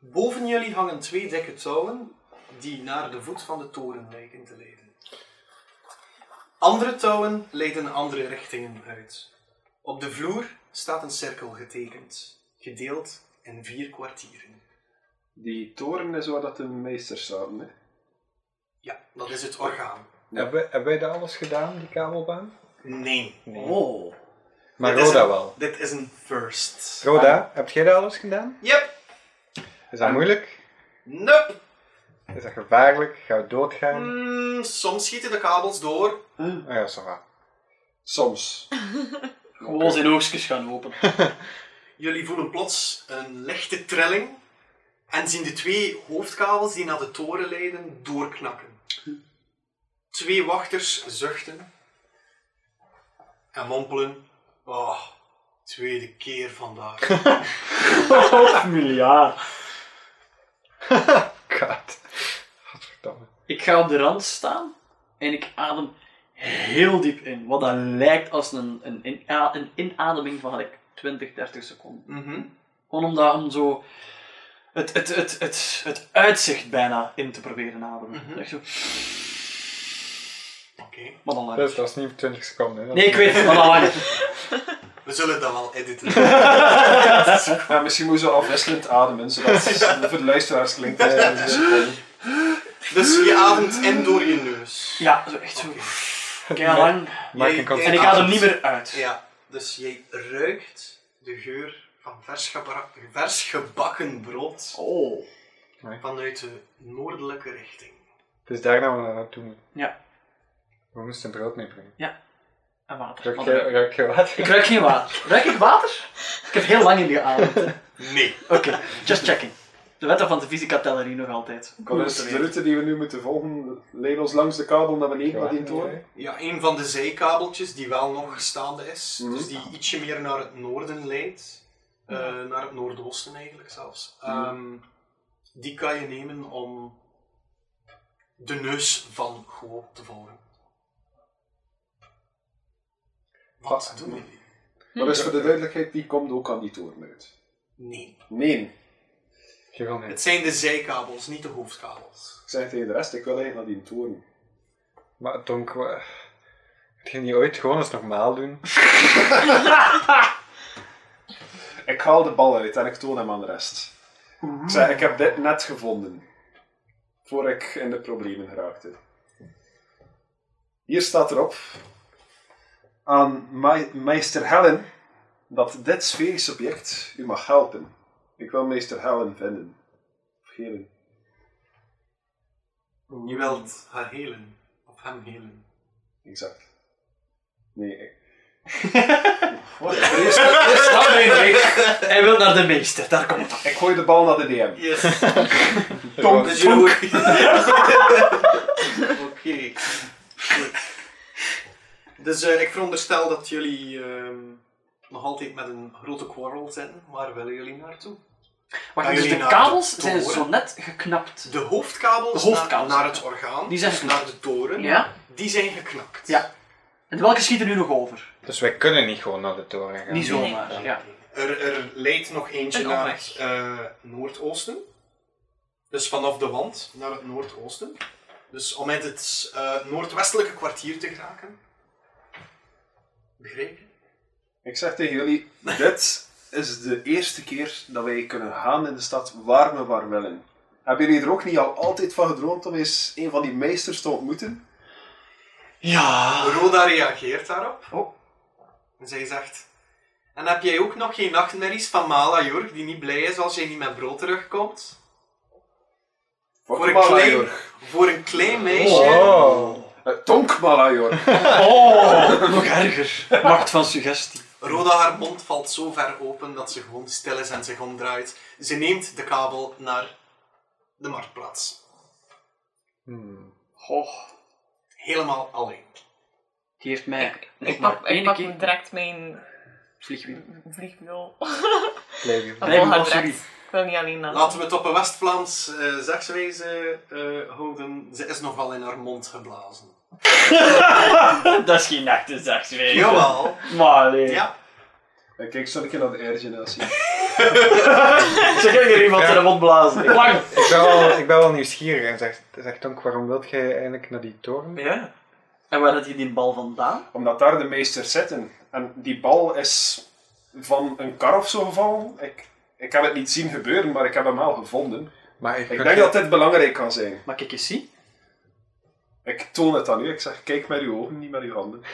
Boven jullie hangen twee dikke touwen die naar de voet van de toren lijken te leiden. Andere touwen leiden andere richtingen uit. Op de vloer staat een cirkel getekend, gedeeld in vier kwartieren. Die toren is waar dat de meesters zaten. Hè? Ja, dat is het orgaan. Hebben, hebben wij dat alles gedaan, die kabelbaan? Nee. Oh. Maar Dit is Roda een- wel. Dit is een first. Ah. Roda, heb jij dat alles gedaan? Yep. Is dat moeilijk? Nope. Is dat gevaarlijk? Gaan we doodgaan? Mm, soms schieten de kabels door. Oh ja, zo va. Soms. Gewoon zijn oogstjes gaan open. Jullie voelen plots een lichte trilling en zien de twee hoofdkabels die naar de toren leiden doorknakken. Twee wachters zuchten en mompelen: Oh, tweede keer vandaag. miljard. God. Godverdomme. Ik ga op de rand staan en ik adem heel diep in. Wat dat lijkt als een, een, in- een inademing van like, 20, 30 seconden. Mhm. Gewoon om, daar, om zo het, het, het, het, het uitzicht bijna in te proberen ademen. Mhm. Echt zo, Oké, maar dan lang. Dus dat is niet 20 seconden. Hè? Nee, ik weet het, maar dan lang. we zullen dat wel editen. Ja, misschien moeten we afwisselend ademen, zodat het voor de luisteraars klinkt. eh, als het is. dus je ademt in door je neus. Ja, zo echt zo. Oké. Kei lang. Maak Jij- een jij En ik adem niet meer uit. Ja, dus jij ruikt de geur van vers, gebra- vers gebakken brood Oh. vanuit de noordelijke richting. Dus daar gaan we naar naartoe moeten. Ja. We moesten brood meebrengen. En water. Ruik Want je, ik- ruik je Ik water? ruik geen water. Ruik ik water? Ik heb heel lang in geademd. hè. Nee. Oké, just checking. De wetten van de fysica tellen hier nog altijd. Kom, dus de route die we nu moeten volgen leidt ons langs de kabel naar beneden naar die toren. Ja, een van de zijkabeltjes die wel nog staande is, Mhm. dus die ietsje meer naar het noorden leidt, eh, naar het noordoosten eigenlijk zelfs, Ehm, die kan je nemen om de neus van Go te volgen. Wat Wat? doen jullie? Maar dus voor de duidelijkheid, die komt ook aan die toren uit. Nee. Nee, Gewoon mee. Het zijn de zijkabels, niet de hoofdkabels. ik zeg tegen de rest, ik wil eigenlijk naar die toren. Maar Donk, we... Moet je niet ooit gewoon eens normaal doen? Ik haal de bal uit en ik toon hem aan de rest. Ik zeg, ik heb dit net gevonden. Voor ik in de problemen geraakte. Hier staat erop. Aan mei- meester Helen dat dit sferische object u mag helpen. Ik wil meester Helen vinden. Of Helen. Je wilt haar helen. Of hem helen. Exact. Nee, ik... Hij wil naar de meester, daar komt het. ik gooi de bal naar de DM. Yes. Tom, Dus jullie ook- Oké. Goed. Dus eh, ik veronderstel dat jullie ehm, nog altijd met een grote quarrel zijn. Waar willen jullie naartoe? Wacht, Gaan dus jullie de naar de kabels zijn toren? zo net geknapt. De hoofdkabels, De hoofdkabels, naar, naar ja. het orgaan, Die zijn dus naar de toren, Ja? die zijn geknakt. Ja. En welke schiet er nu nog over? Dus wij kunnen niet gewoon naar de toren gaan. Niet nee. zomaar. Ja. Er, er leidt nog eentje Een naar omweg. het eh, noordoosten. Dus vanaf de wand naar het noordoosten. Dus om uit het eh, noordwestelijke kwartier te geraken. Begrepen? ik zeg tegen jullie, dit is de eerste keer dat wij kunnen gaan in de stad waar we maar willen. Hebben jullie er ook niet al altijd van gedroomd om eens een van die meesters te ontmoeten? Ja. Roda reageert daarop. Oh. En zij zegt... En heb jij ook nog geen nachtmerries van Mala, Jurg, die niet blij is als jij niet met brood terugkomt? Voor een Malajor. klein- Voor een klein meisje... Oh. Eh, Tonk Malajor. Oh, nog erger. Macht van suggestie. Roda haar mond valt zo ver open dat ze gewoon stil is en zich omdraait. Ze neemt de kabel naar de marktplaats. Hmm. Oh, Helemaal alleen. die heeft mij nog Ik maar pak, één ik pak keer direct mijn vliegwiel. vliegwiel. Leuk. Ik Nee, wil haar oh, sorry. direct. Ik wil niet alleen naar. Laten we het op een West-Vlaams eh, zegswijze eh, houden. Ze is nogal in haar mond geblazen. Dat is geen echte zegswezen. Jawel. Maar nee. Ja. Eh, Kijk, zo een keer naar de airgeneratie. Ze kunnen hier iemand Ja. in de mond blazen. Lang. Ik ben, wel, ik ben wel nieuwsgierig en zegt, zegt Tonk, waarom wilt jij eigenlijk naar die toren? Ja. En waar had hij die bal vandaan? Omdat daar de meesters zitten. En die bal is van een kar of zo gevallen. Ik, ik heb het niet zien gebeuren, maar ik heb hem wel gevonden. Maar ik, Ik denk dat dit belangrijk kan zijn. Mag ik eens zien? Ik toon het aan u. Ik zeg, kijk met uw ogen, niet met uw handen.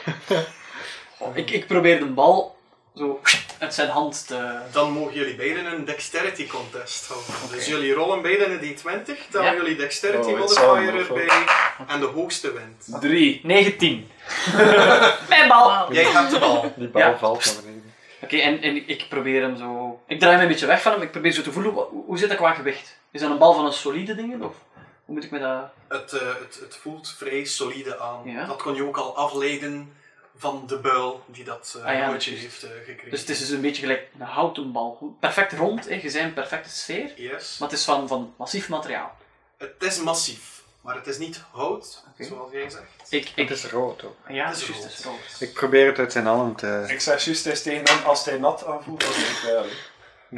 Ik, ik probeer de bal zo uit zijn hand te... Dan mogen jullie beiden een dexterity contest houden. Dus jullie rollen beiden een d20. Dan Ja. jullie dexterity Oh, het zal modifier nog wel. erbij. En de hoogste wint. Drie. 19. Mijn bal. Wauw. Jij hebt de bal. Die bal Ja. valt naar beneden. Oké, en, en ik probeer hem zo... Ik draai me een beetje weg van hem. Ik probeer zo te voelen, wa- hoe hoe zit dat qua gewicht? Is dat een bal van een solide ding? Of hoe moet ik me dat... Het, eh, het, het voelt vrij solide aan. Ja. Dat kon je ook al afleiden van de buil die dat eh Ah ja, broodje dat is- heeft eh, gekregen. Dus het is dus een beetje gelijk een houten bal. Goed, Perfect rond, hè. je zei een perfecte sfeer. Yes. Maar het is van, van massief materiaal. Het is massief, maar het is niet hout, Oké. zoals jij zegt. Ik, ik, Het is rood ook. ja, het het is is juist, het is rood. Ik probeer het uit zijn eh, handen te... Ik zeg juist eens tegen hem, als hij nat aanvoelt, dan ben ik bij hem.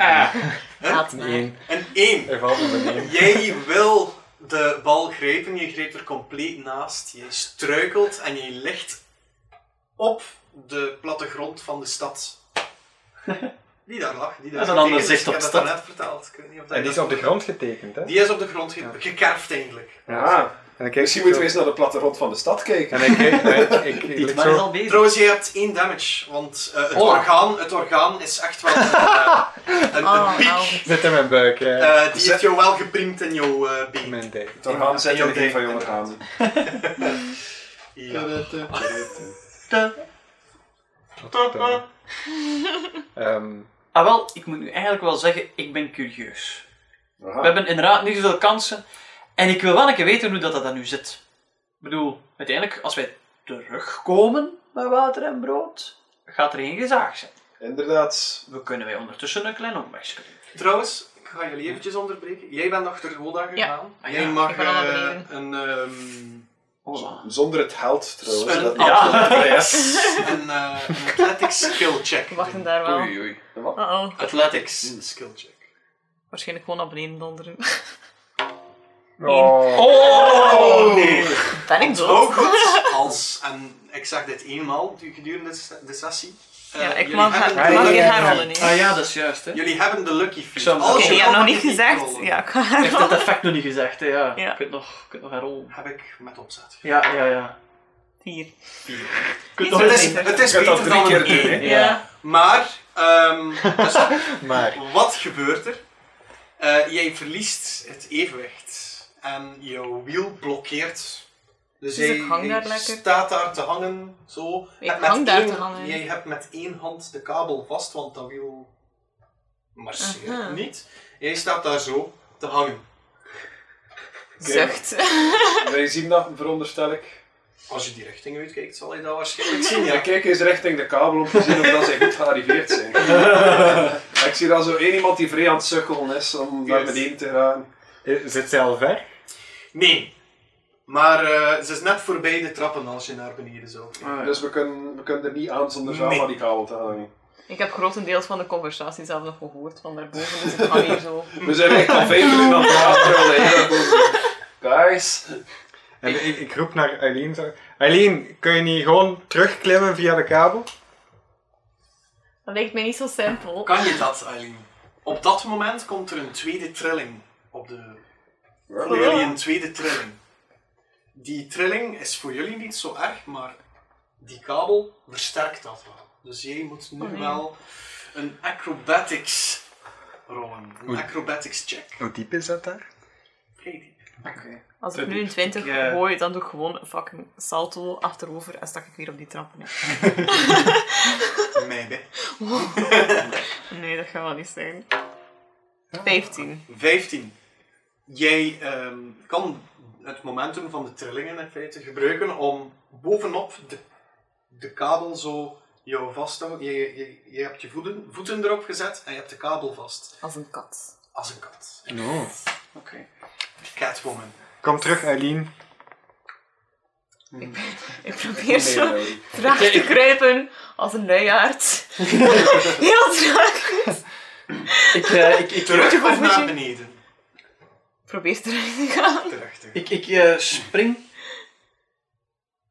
Ah, Eh. Laat maar. Nee, Een 1. hij valt naar beneden. Jij wil de bal grijpen, je grijpt er compleet naast. Jij struikelt en jij ligt op de plattegrond van de stad. Die daar lag. Die daar Dat is een ander tegen zicht op Ik heb stad. dat net verteld. Ik weet niet of dat En die je is dat op de grond getekend, hè? Die is op de grond ge- gekerfd eigenlijk. Ah, En ik misschien moeten we eens naar de plattegrond van de stad kijken. En ik kijk... maar Ik, ik, ik, die lig man is zo... al bezig. Trouwens, je hebt één damage, want eh, het, Oh. orgaan, het orgaan is echt wel eh, een, een Oh, piek. nou. Zit in mijn buik, hè? Eh, die heeft jou wel gepriemd in jouw eh In been. mijn dijk. Het orgaan zit in Ja, de oké. geef van jonge gaan. Ja. Wat dan? Ehm, Ah wel, ik moet nu eigenlijk wel zeggen, ik ben curieus. We hebben inderdaad niet zoveel kansen. En ik wil wel een keer weten hoe dat, dat dan nu zit. Ik bedoel, uiteindelijk, als wij terugkomen met water en brood, gaat er geen gezaag zijn. Inderdaad. We kunnen wij ondertussen een klein omwegje doen. Trouwens, ik ga jullie eventjes onderbreken. Jij bent achter Roda gegaan. Ja. Jij mag Ah, Ik ben al naar eh, beneden. een, ehm, Hola. Zonder het held, trouwens. Een- Dat Ja. een, eh, een athletics skill check. We wachten daar wel. Oei, oei. Uh-oh. Athletics skill check. Waarschijnlijk gewoon naar beneden donderen. Oh. Oh nee! Ben ik Ook dood? goed als, en ik zeg dit eenmaal gedurende de se- de sessie. Eh, Ja, ik jullie mag hebben haar, de mag lucky- hier haar rollen, hè. Ah ja, dat is juist, hè. Jullie hebben de lucky feet. zou hem Als ook- Oké, je je ook hebt nog niet een feet gezegd. rollen, Ja, ik ga haar Heeft rollen. het effect nog niet gezegd, hè. Ja. Ja. Ik weet nog, ik weet nog herrollen. Heb ik met opzet. Ja, ja, ja. Hier. Ik weet Niet nog zo Het eens- is, beter. het is Je kunt beter dat dan drie een keer doen, één. hè? Ja. Maar eh, Ehm, dus Maar. Wat gebeurt er? Eh, jij verliest het evenwicht en jouw wiel blokkeert. Dus, Dus jij, ik hang jij daar lekker. staat daar te hangen, zo. Ik En hang daar één- te hangen. Jij hebt met één hand de kabel vast, want dat wiel marcheert Aha. niet. Jij staat daar zo te hangen. Zucht. Wij zien dat, veronderstel ik. Als je die richting uitkijkt, zal je dat waarschijnlijk zien. En Ja. ik kijk eens richting de kabel om te zien of dat zij goed gearriveerd zijn. En ik zie daar zo één iemand die vrij aan het sukkelen is om naar Yes. beneden te gaan. Eh, Zit zij al ver? Nee. Maar eh, ze is net voorbij de trappen als je naar beneden zou. Ah, kijken. Dus we kunnen, we kunnen er niet aan zonder zelf Nee. aan die kabel te hangen. Ik heb grotendeels van de conversatie zelf nog gehoord van daarboven, dus ik hang hier zo. We zijn echt al vijf minuten aan het praten. allee, dat moet- Guys. En ik, ik roep naar Eileen. zo, Eileen, kun je niet gewoon terugklimmen via de kabel? Dat lijkt mij niet zo simpel. Kan je dat, Eileen? Op dat moment komt er een tweede trilling op de voor jullie een tweede trilling. Die trilling is voor jullie niet zo erg, maar die kabel versterkt dat wel. Dus jij moet nu Oh, nee. wel een acrobatics rollen. Een acrobatics check. Hoe diep is dat daar? Vrij diep. Als ik nu een 20 Ik, eh, gooi, dan doe ik gewoon een fucking salto achterover en stak ik weer op die trap. Nee, Maybe. nee dat gaat wel niet zijn. 15. 15. Jij ehm, kan het momentum van de trillingen in feite gebruiken om bovenop de, de kabel zo jou vast te houden. Je, je, je hebt je voeten, voeten erop gezet en je hebt de kabel vast. Als een kat. Als een kat. No. Oké. Catwoman. Kom terug, Eileen. Ik probeer Nee, zo nee. traag te kruipen als een luiaard. Heel traag. Ik, eh, ik, ik, Terug Moet je- of moet naar je- beneden? Probeer terug te gaan. Terug, terug. Ik, ik eh, spring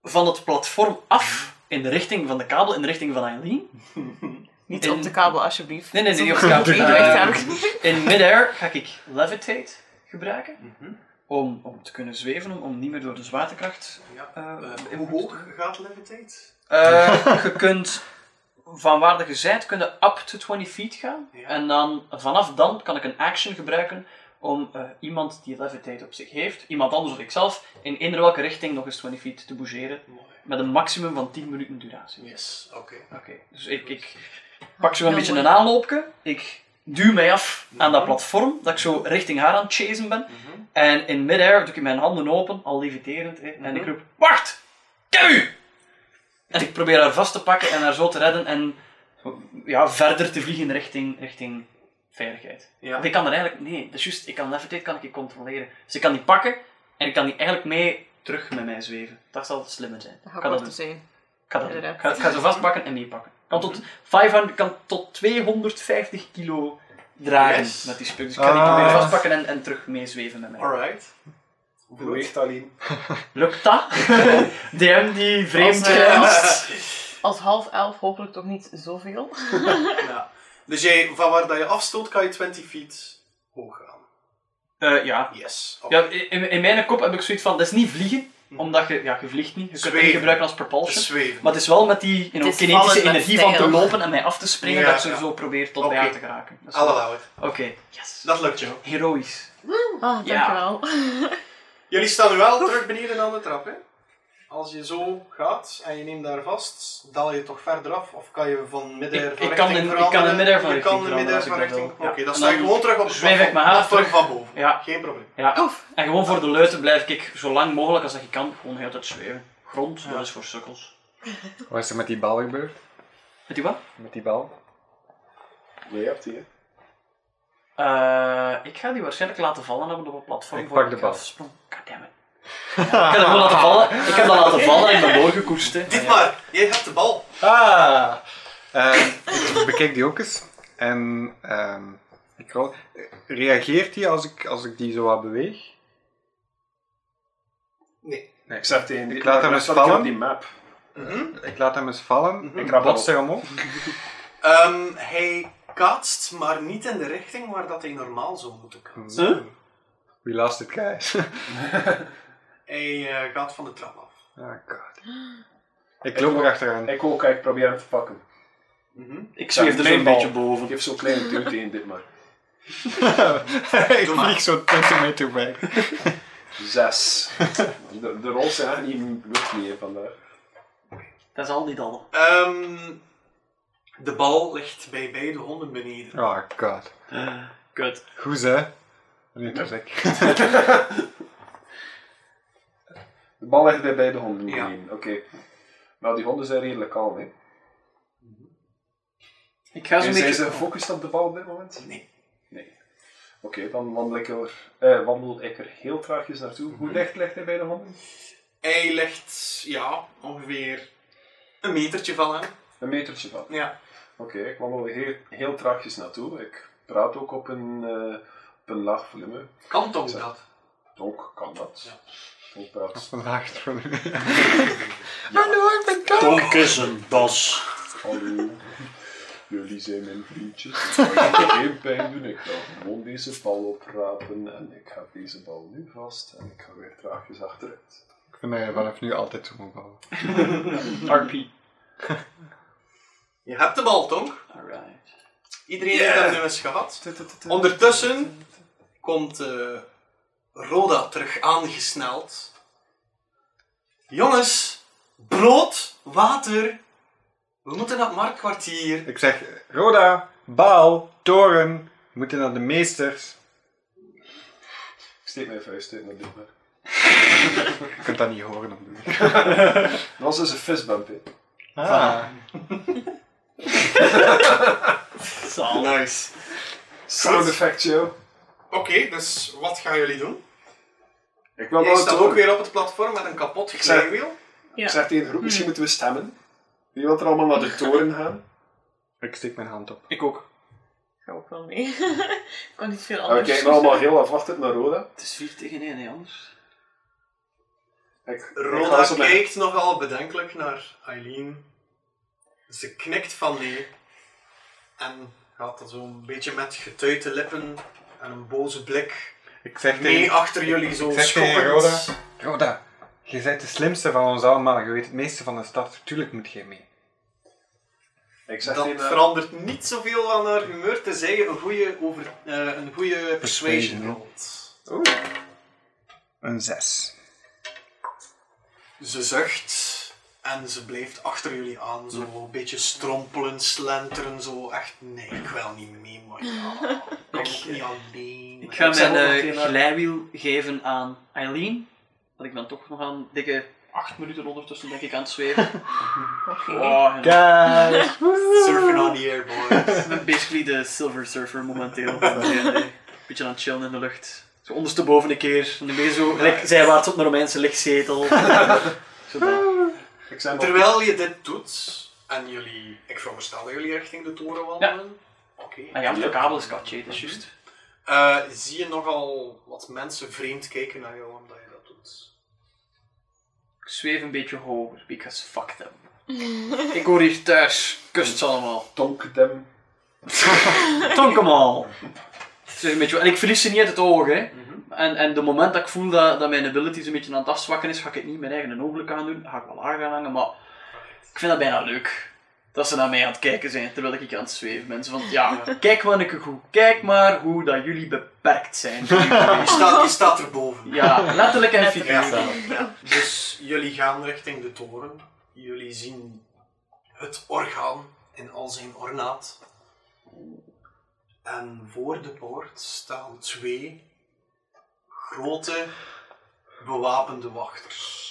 van het platform af in de richting van de kabel, in de richting van Eileen. Niet En- op de kabel, alsjeblieft. Nee, nee, nee, niet op de Zoveel kabel. evenwicht Eh, heb ik niet. In midair ga ik levitate gebruiken Mhm. om, om te kunnen zweven, om, om niet meer door de zwaartekracht. Ja. eh, Eh, hoe beïnvloed te worden. hoog gaat levitate? Eh, je kunt van waar je zijt, kun je up to 20 feet gaan. Ja. En dan, vanaf dan kan ik een action gebruiken om eh, iemand die levitate op zich heeft, iemand anders of ikzelf, in eender welke richting nog eens 20 feet te bougeren. Mooi. Met een maximum van 10 minuten duratie. Yes, oké. Oké, dus ik, ik pak zo een Ja, beetje mooi. een aanloopje. Ik duw mij af aan dat platform, dat ik zo richting haar aan het chasen ben. Mhm. En in midair doe ik mijn handen open, al leviterend. hè, Mhm. En ik roep, wacht! Kem u! En ik probeer haar vast te pakken en haar zo te redden en ja, verder te vliegen richting, richting veiligheid. Ja. Want ik kan er eigenlijk... Nee, dat is juist. Ik kan levitate kan ik je controleren. Dus ik kan die pakken en ik kan die eigenlijk mee terug met mij zweven. Dat zal het slimmer zijn. Dat Ik gaat ga dat wel doen. te zijn. Ik ga, dat doen. Inderdaad. ik, ga, ik ga ze vastpakken en meepakken. Kan tot, 500, kan tot 250 kilo dragen Yes. met die spuk. Dus ik ga die Ah. proberen vastpakken en, en terug meezweven met mij. Alright. Hoe weegt Aline? Lukt dat? DM die vreemd Als, eh, grenst. Als half elf hopelijk toch niet zoveel. Ja. Dus jij, van waar dat je afstoot, kan je 20 feet hoog gaan. Eh, ja. Yes. ja in, in mijn kop heb ik zoiets van, dat is niet vliegen. Omdat je, ja, je vliegt niet. Je kunt het niet Zweven. gebruiken als propulsion. Zweven. Maar het is wel met die you know, Het is kinetische vallen met energie van te stijl. lopen en mij af te springen Ja, dat ik ze ja. zo probeer tot Oké. bij haar te geraken. Dat is I'll wel- allow it. Oké, yes. Dat lukt jou. Heroïs. Ah, Ja. dankjewel. Jullie staan nu wel terug beneden aan de trap, hè? Als je zo gaat en je neemt daar vast, daal je toch verder af? Of kan je van midden Ik- van ik richting kan in- ik veranderen? kan in midden van Je richting kan in midden veranderen als van ik dat richting. wil. Ja. Oké, dan En sta je dan gewoon terug op het zweef ik mijn haar platform terug. van boven. Ja. Geen probleem. Ja. Oef. En gewoon voor de leuten blijf ik zo lang mogelijk als dat ik kan gewoon heel tijd zweven. Grond, dat is voor sukkels. Wat is er met die bal gebeurd? Weet je wat? Met die bal? Nee, je hebt die, hè? Eh, ik ga die waarschijnlijk laten vallen hebben op een platform. Ik voor pak de bal. afsprong. Goddammit. Ja, ik heb dat gewoon laten vallen. Ik heb dat laten vallen en ik ben doorgekoerst. hè. Dit maar, jij hebt de bal. Ah! Ehm, ik bekijk die ook eens. En ehm, ik rol- reageert die als ik, als ik die zo wat beweeg? Nee. Ik zeg tegen Ik laat hem eens vallen. op die map. Ik laat hem eens vallen. Ik rap bots hem op. Ehm, hij kaatst, maar niet in de richting waar dat hij normaal zou moeten kaatsen. Huh? We lost it, guys. Hij eh, gaat van de trap af. Ah, god. Ik loop erachteraan. Ik ook, hè. ik probeer hem te pakken. Mhm. Ik zweef Ja, er klein zo'n beetje bal. boven. Geef zo'n kleine duw tegen dit maar. ik Doe maar. vlieg zo'n 20 meter weg. Zes. De, de rol zijn eigenlijk niet lukt niet hè, vandaag. Dat is al niet al. Ehm, de bal ligt bij beide honden beneden. Oh god. Kut. Goed hè? Nu dat ik. De bal ligt bij beide honden. Ja. beneden. Oké. Nou, die honden zijn redelijk kalm, hè. Ik ga zo'n En zijn beetje... ze gefocust op de bal op dit moment? Nee. Nee. Oké, dan wandel ik, er, eh, wandel ik er heel traagjes naartoe. Mhm. Hoe dicht ligt hij bij de honden? Hij ligt, ja, ongeveer een metertje van hem. Een metertje van. Ja. Oké, ik wandel er heel, heel traagjes naartoe. Ik praat ook op een, eh, op een laag volume. Kan toch dat? Donk kan dat. Ja. Ik praat Laagd voor de Hallo, ik ben Kat. Donk is een das. Hallo, jullie zijn mijn vriendjes. Ik ga jullie geen pijn doen. Ik ga gewoon deze bal oprapen en ik heb deze bal nu vast en ik ga weer traagjes achteruit. Ik vind dat je vanaf nu altijd zo moet bouwen. RP. Je hebt de bal, Tonk. Alright. Iedereen Yeah. heeft hem nu eens gehad. Ondertussen komt eh, Roda terug aangesneld. Jongens, brood, water. We moeten naar het marktkwartier. Ik zeg, Roda, Baal, Toren, we moeten naar de meesters. Ik steek mijn vuist in en dit maar. Je kunt dat niet horen op de mic. Dat was dus een fistbump. hè. Ah. Zalig. Nice. Sound effect, yo. Oké, dus wat gaan jullie doen? Ik wil Jij dat staat ook ook weer. weer op het platform met een kapot Ik zeg- glijwiel. Ik zeg tegen de groep, misschien moeten we stemmen. Wie wil er allemaal naar de toren gaan? Ik steek mijn hand op. Ik ook. Ik ga ook wel mee. ik kon niet veel En we anders. kijken allemaal heel afwachtend naar Roda. Het is 4 tegen 1, hè, anders. Ik, ik ga Roda zo naar- kijkt nogal bedenkelijk naar Eileen. Ze knikt van nee. En gaat dan zo'n beetje met getuite lippen en een boze blik Ik zeg mee tegen achter jullie zo ik zeg tegen Roda. schoppend. Roda, je bent de slimste van ons allemaal. Je weet het meeste van de stad. Tuurlijk moet jij mee. Ik zeg Dat tegen haar, verandert niet zoveel aan haar humeur, tenzij je een goede, over, eh, een goede persuasion hè? rolt. Een zes. Ze zucht en ze blijft achter jullie aan, zo een beetje strompelen, slenteren, zo echt, nee, ik wil niet mee, maar ja, ik kan ook niet alleen. eh, Ik ga Ik zeg mijn ook nog eh, geen, eh, glijwiel geven aan Eileen. Want ik ben toch nog aan dikke 8 minuten ondertussen, denk ik, aan het zweven. Oké. Oh, en Guys! Surfing on the air, boys. Ik ben basically de silver surfer momenteel. Een beetje aan het chillen in de lucht. Zo ondersteboven een keer. En dan ben je zo gelijk zijwaarts op een Romeinse lichtzetel. zo dat. ik zeg nog- Terwijl je dit doet, en jullie, ik veronderstel dat jullie richting de toren wandelen, oké, Ah ja, maar de kabel is katje, dat is juist. Eh, zie je nogal wat mensen vreemd kijken naar jou omdat je dat doet. Ik zweef een beetje hoger, because fuck them. Ik hoor hier thuis, kust ze allemaal. Tonk them. Tonk hem al! Ik zweef een beetje, en ik verlies ze niet uit het oog, hè. En, en de moment dat ik voel dat, dat mijn ability een beetje aan het afzwakken is, ga ik het niet mijn eigen ooglijk aan doen. Dan ga ik wel lager gaan hangen, maar ik vind dat bijna leuk. Dat ze naar mij aan het kijken zijn, terwijl ik aan het zweven ben. Zo van, ja, kijk maar een goed. Kijk maar hoe dat jullie beperkt zijn. Je staat, je staat erboven. Ja, letterlijk en figuurlijk. Ja. Dus jullie gaan richting de toren. Jullie zien het orgaan in al zijn ornaat. En voor de poort staan twee grote bewapende wachters.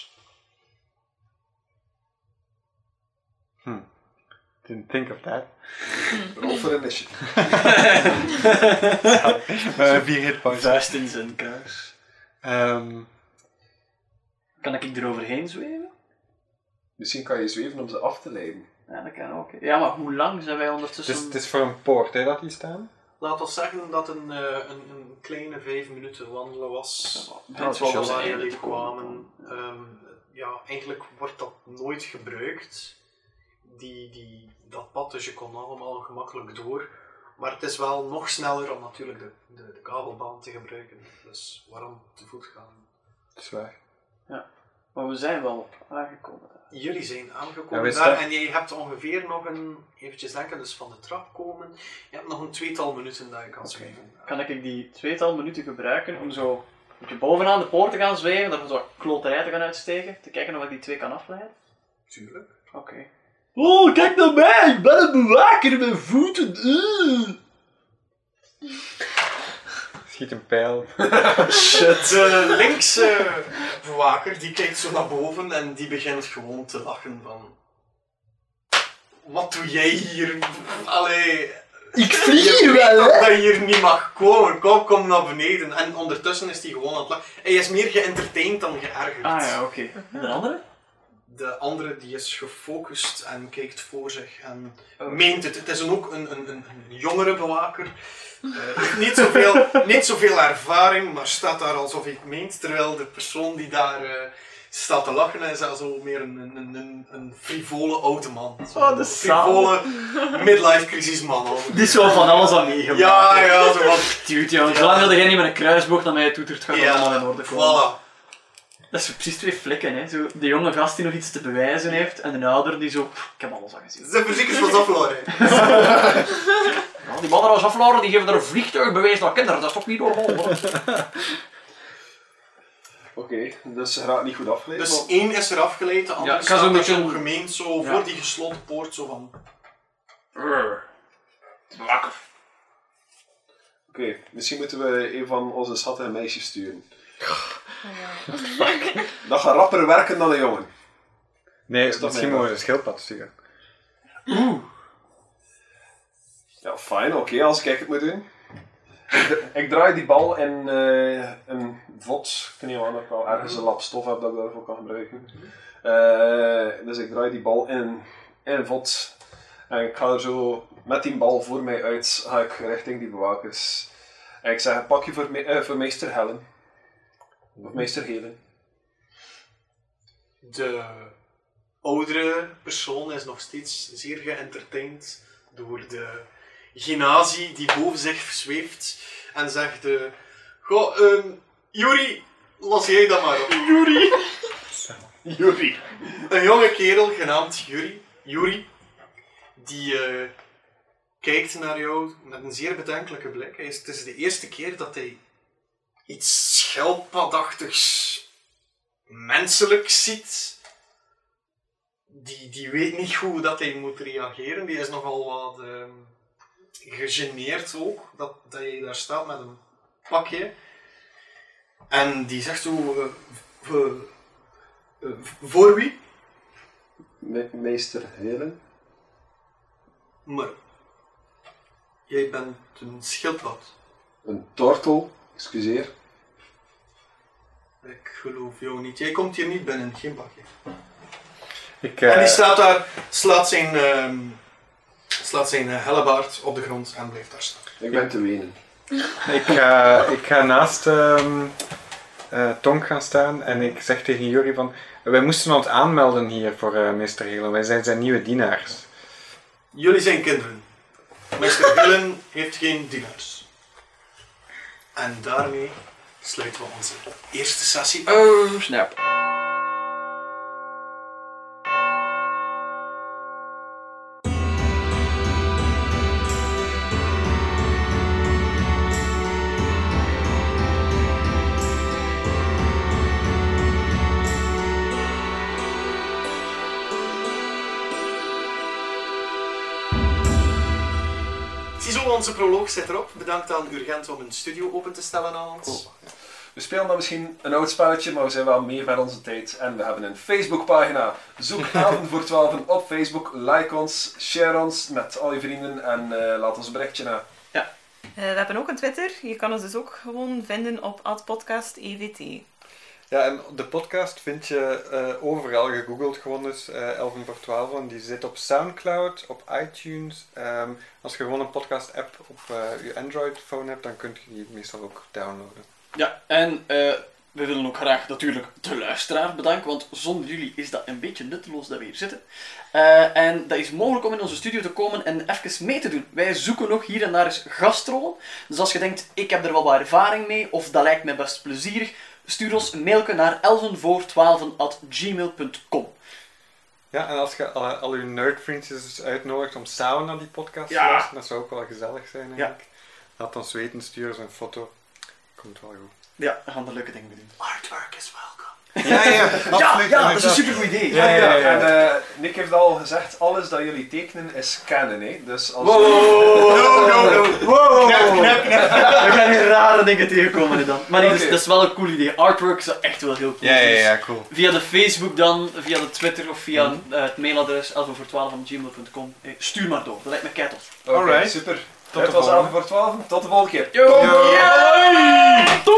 Didn't think of that. Roll for initiative. Eh, vier hit points. Vuist in zijn kruis. Ehm, Kan ik eroverheen zweven? Misschien kan je zweven om ze af te leiden. Ja, dat kan ook. Ja, maar hoe lang zijn wij ondertussen... dus het is voor een poort hè, dat die staan? Laat ons zeggen dat een, eh, een, een kleine vijf minuten wandelen was. Dat is Van wel ons waar einde jullie te komen. kwamen. Ehm, ja, eigenlijk wordt dat nooit gebruikt. Die, die, dat pad, dus je kon allemaal gemakkelijk door. Maar het is wel nog sneller om natuurlijk de, de, de kabelbaan te gebruiken. Dus waarom te voet gaan? Dat is waar. Maar we zijn wel aangekomen. Jullie zijn aangekomen Ja, wij daar staan- en je hebt ongeveer nog een, eventjes denken, dus van de trap komen. Je hebt nog een tweetal minuten dat je kan zweven. Kan ik die tweetal minuten gebruiken om zo een beetje bovenaan de poort te gaan zweven, daarvoor zo wat kloterij te gaan uitsteken, te kijken of ik die twee kan afleiden? Tuurlijk. Oké. Oh, kijk naar mij! Ik ben een bewaker in mijn voeten! Schiet een pijl. De eh, linkse bewaker die kijkt zo naar boven en die begint gewoon te lachen van... Wat doe jij hier? Allee... Ik Je vlieg weet dat hij hier niet mag komen. Kom, kom naar beneden. En ondertussen is hij gewoon aan het lachen. Hij is meer geëntertained dan geërgerd. Ah ja, oké. En De andere? De andere die is gefocust en kijkt voor zich en meent het. Het is een, ook een, een, een, een jongere bewaker. Eh, heeft niet, zoveel, niet zoveel ervaring, maar staat daar alsof hij het meent. Terwijl de persoon die daar eh, staat te lachen is al zo meer een, een, een, een, een frivole oude man. Zo'n Oh, de frivole midlife crisis man. al. Die is wel van alles aan meegemaakt. Ja, ja, zo wat. Dude, jongen, zolang dat jij niet met een kruisboog naar mij toetert, gaat dat allemaal in orde komen. Voilà. Dat is precies twee flikken, hè. Zo, de jonge gast die nog iets te bewijzen heeft, en de ouder die zo... "Pff, Ik heb alles al gezien. Zijn verzekers was afgelopen. Ja, die mannen als afloren, die geven er een vliegtuigbewijs naar kinderen. Dat is toch niet normaal, hoor. Oké, dus ze raakt niet goed afgeleid. Dus maar- één is er afgeleid, de andere Ja, ik ga staat zo'n daar beetje- zo gemeen zo Ja. voor die gesloten poort zo van... Wakker. Oké, misschien moeten we een van onze schattige meisjes sturen. Dat gaat rapper werken dan een jongen. Nee, is toch misschien mijn moeten we een schildpad sturen. Ja, fijn, oké, als ik het moet doen. Ik, dra- ik draai die bal in eh, een vod. Ik weet niet waar dat ik wel ergens een lap stof heb dat ik daarvoor kan gebruiken. Eh, dus ik draai die bal in, in een vod. En ik ga er zo met die bal voor mij uit, ga ik richting die bewakers. En ik zeg, pak je voor, me- eh, voor meester Helen. Of meester Helen. De oudere persoon is nog steeds zeer geëntertaind door de genazie die boven zich zweeft en zegt... eh, Goh, ehm Juri, los jij dat maar op. Juri! Juri. Een jonge kerel genaamd Juri, Juri die eh, kijkt naar jou met een zeer bedenkelijke blik. Hij is, het is de eerste keer dat hij iets schelpadachtigs menselijk ziet. Die, die weet niet goed hoe dat hij moet reageren. Die is nogal wat ehm, gegeneerd ook, dat, dat jij daar staat met een pakje. En die zegt zo... eh, v- eh, v- voor wie? Me- meester Helen. Maar jij bent een schildpad. Een tortel. Excuseer. Ik geloof jou niet. Jij komt hier niet binnen, geen bakje. Ik, En eh, die staat daar, slaat zijn, ehm, slaat zijn eh, hellebaard op de grond en blijft daar staan. Ik ben te wenen. ik, ga, ik ga naast ehm eh, Tonk gaan staan en ik zeg tegen Juri van... Wij moesten ons aanmelden hier voor eh meester Helen. Wij zijn zijn nieuwe dienaars. Jullie zijn kinderen. Mr. Hillen heeft geen dienaars. En daarmee sluiten we onze eerste sessie af. Oh, snap. Ziezo, onze proloog zit erop. Bedankt aan Urgent om een studio open te stellen aan ons. We spelen dan misschien een oud spelletje, maar we zijn wel meer van onze tijd. En we hebben een Facebookpagina. Zoek Avond voor 12 op Facebook. Like ons, share ons met al je vrienden en eh, laat ons een berichtje na. Eh, we hebben ook een Twitter. Je kan ons dus ook gewoon vinden op E @podcastevt. Ja, en de podcast vind je eh, overal gegoogeld gewoon dus eh, Elven voor 12. En die zit op Soundcloud, op iTunes. Ehm, als je gewoon een podcast app op eh, je Android phone hebt, dan kun je die meestal ook downloaden. Ja, en eh, we willen ook graag natuurlijk de luisteraar bedanken, want zonder jullie is dat een beetje nutteloos dat we hier zitten. Eh, en dat is mogelijk om in onze studio te komen en even mee te doen. Wij zoeken nog hier en daar eens gastrollen. Dus als je denkt, ik heb er wel wat ervaring mee, of dat lijkt mij best plezierig, Stuur ons een mailje naar elvenvoor12.gmail.com. Ja, en als je al, al je nerdvriendjes uitnodigt om samen naar die podcast te Ja. luisteren, dat zou ook wel gezellig zijn, Ja. eigenlijk. Laat ons weten, stuur eens een foto. Komt wel goed. Ja, we gaan er leuke dingen mee doen. Artwork is welcome. Ja, ja, Ja, ja, dat is een supergoed idee. Ja, ja, ja. En eh, Nick heeft al gezegd, alles dat jullie tekenen is canon, hè. Dus als... No, no, no. We gaan hier rare dingen tegenkomen dan. Maar nee, dat, is, Oké. dat is wel een cool idee. Artwork is echt wel heel cool. Ja, ja, Dus ja, cool. Via de Facebook dan, via de Twitter of via eh, het mailadres elvenvoor12.gmail.com. Eh, Stuur maar door, dat lijkt me kettels. Oké, Alright. super. de Het was volgende. avond voor 12. Tot de volgende keer. Yo! Doei!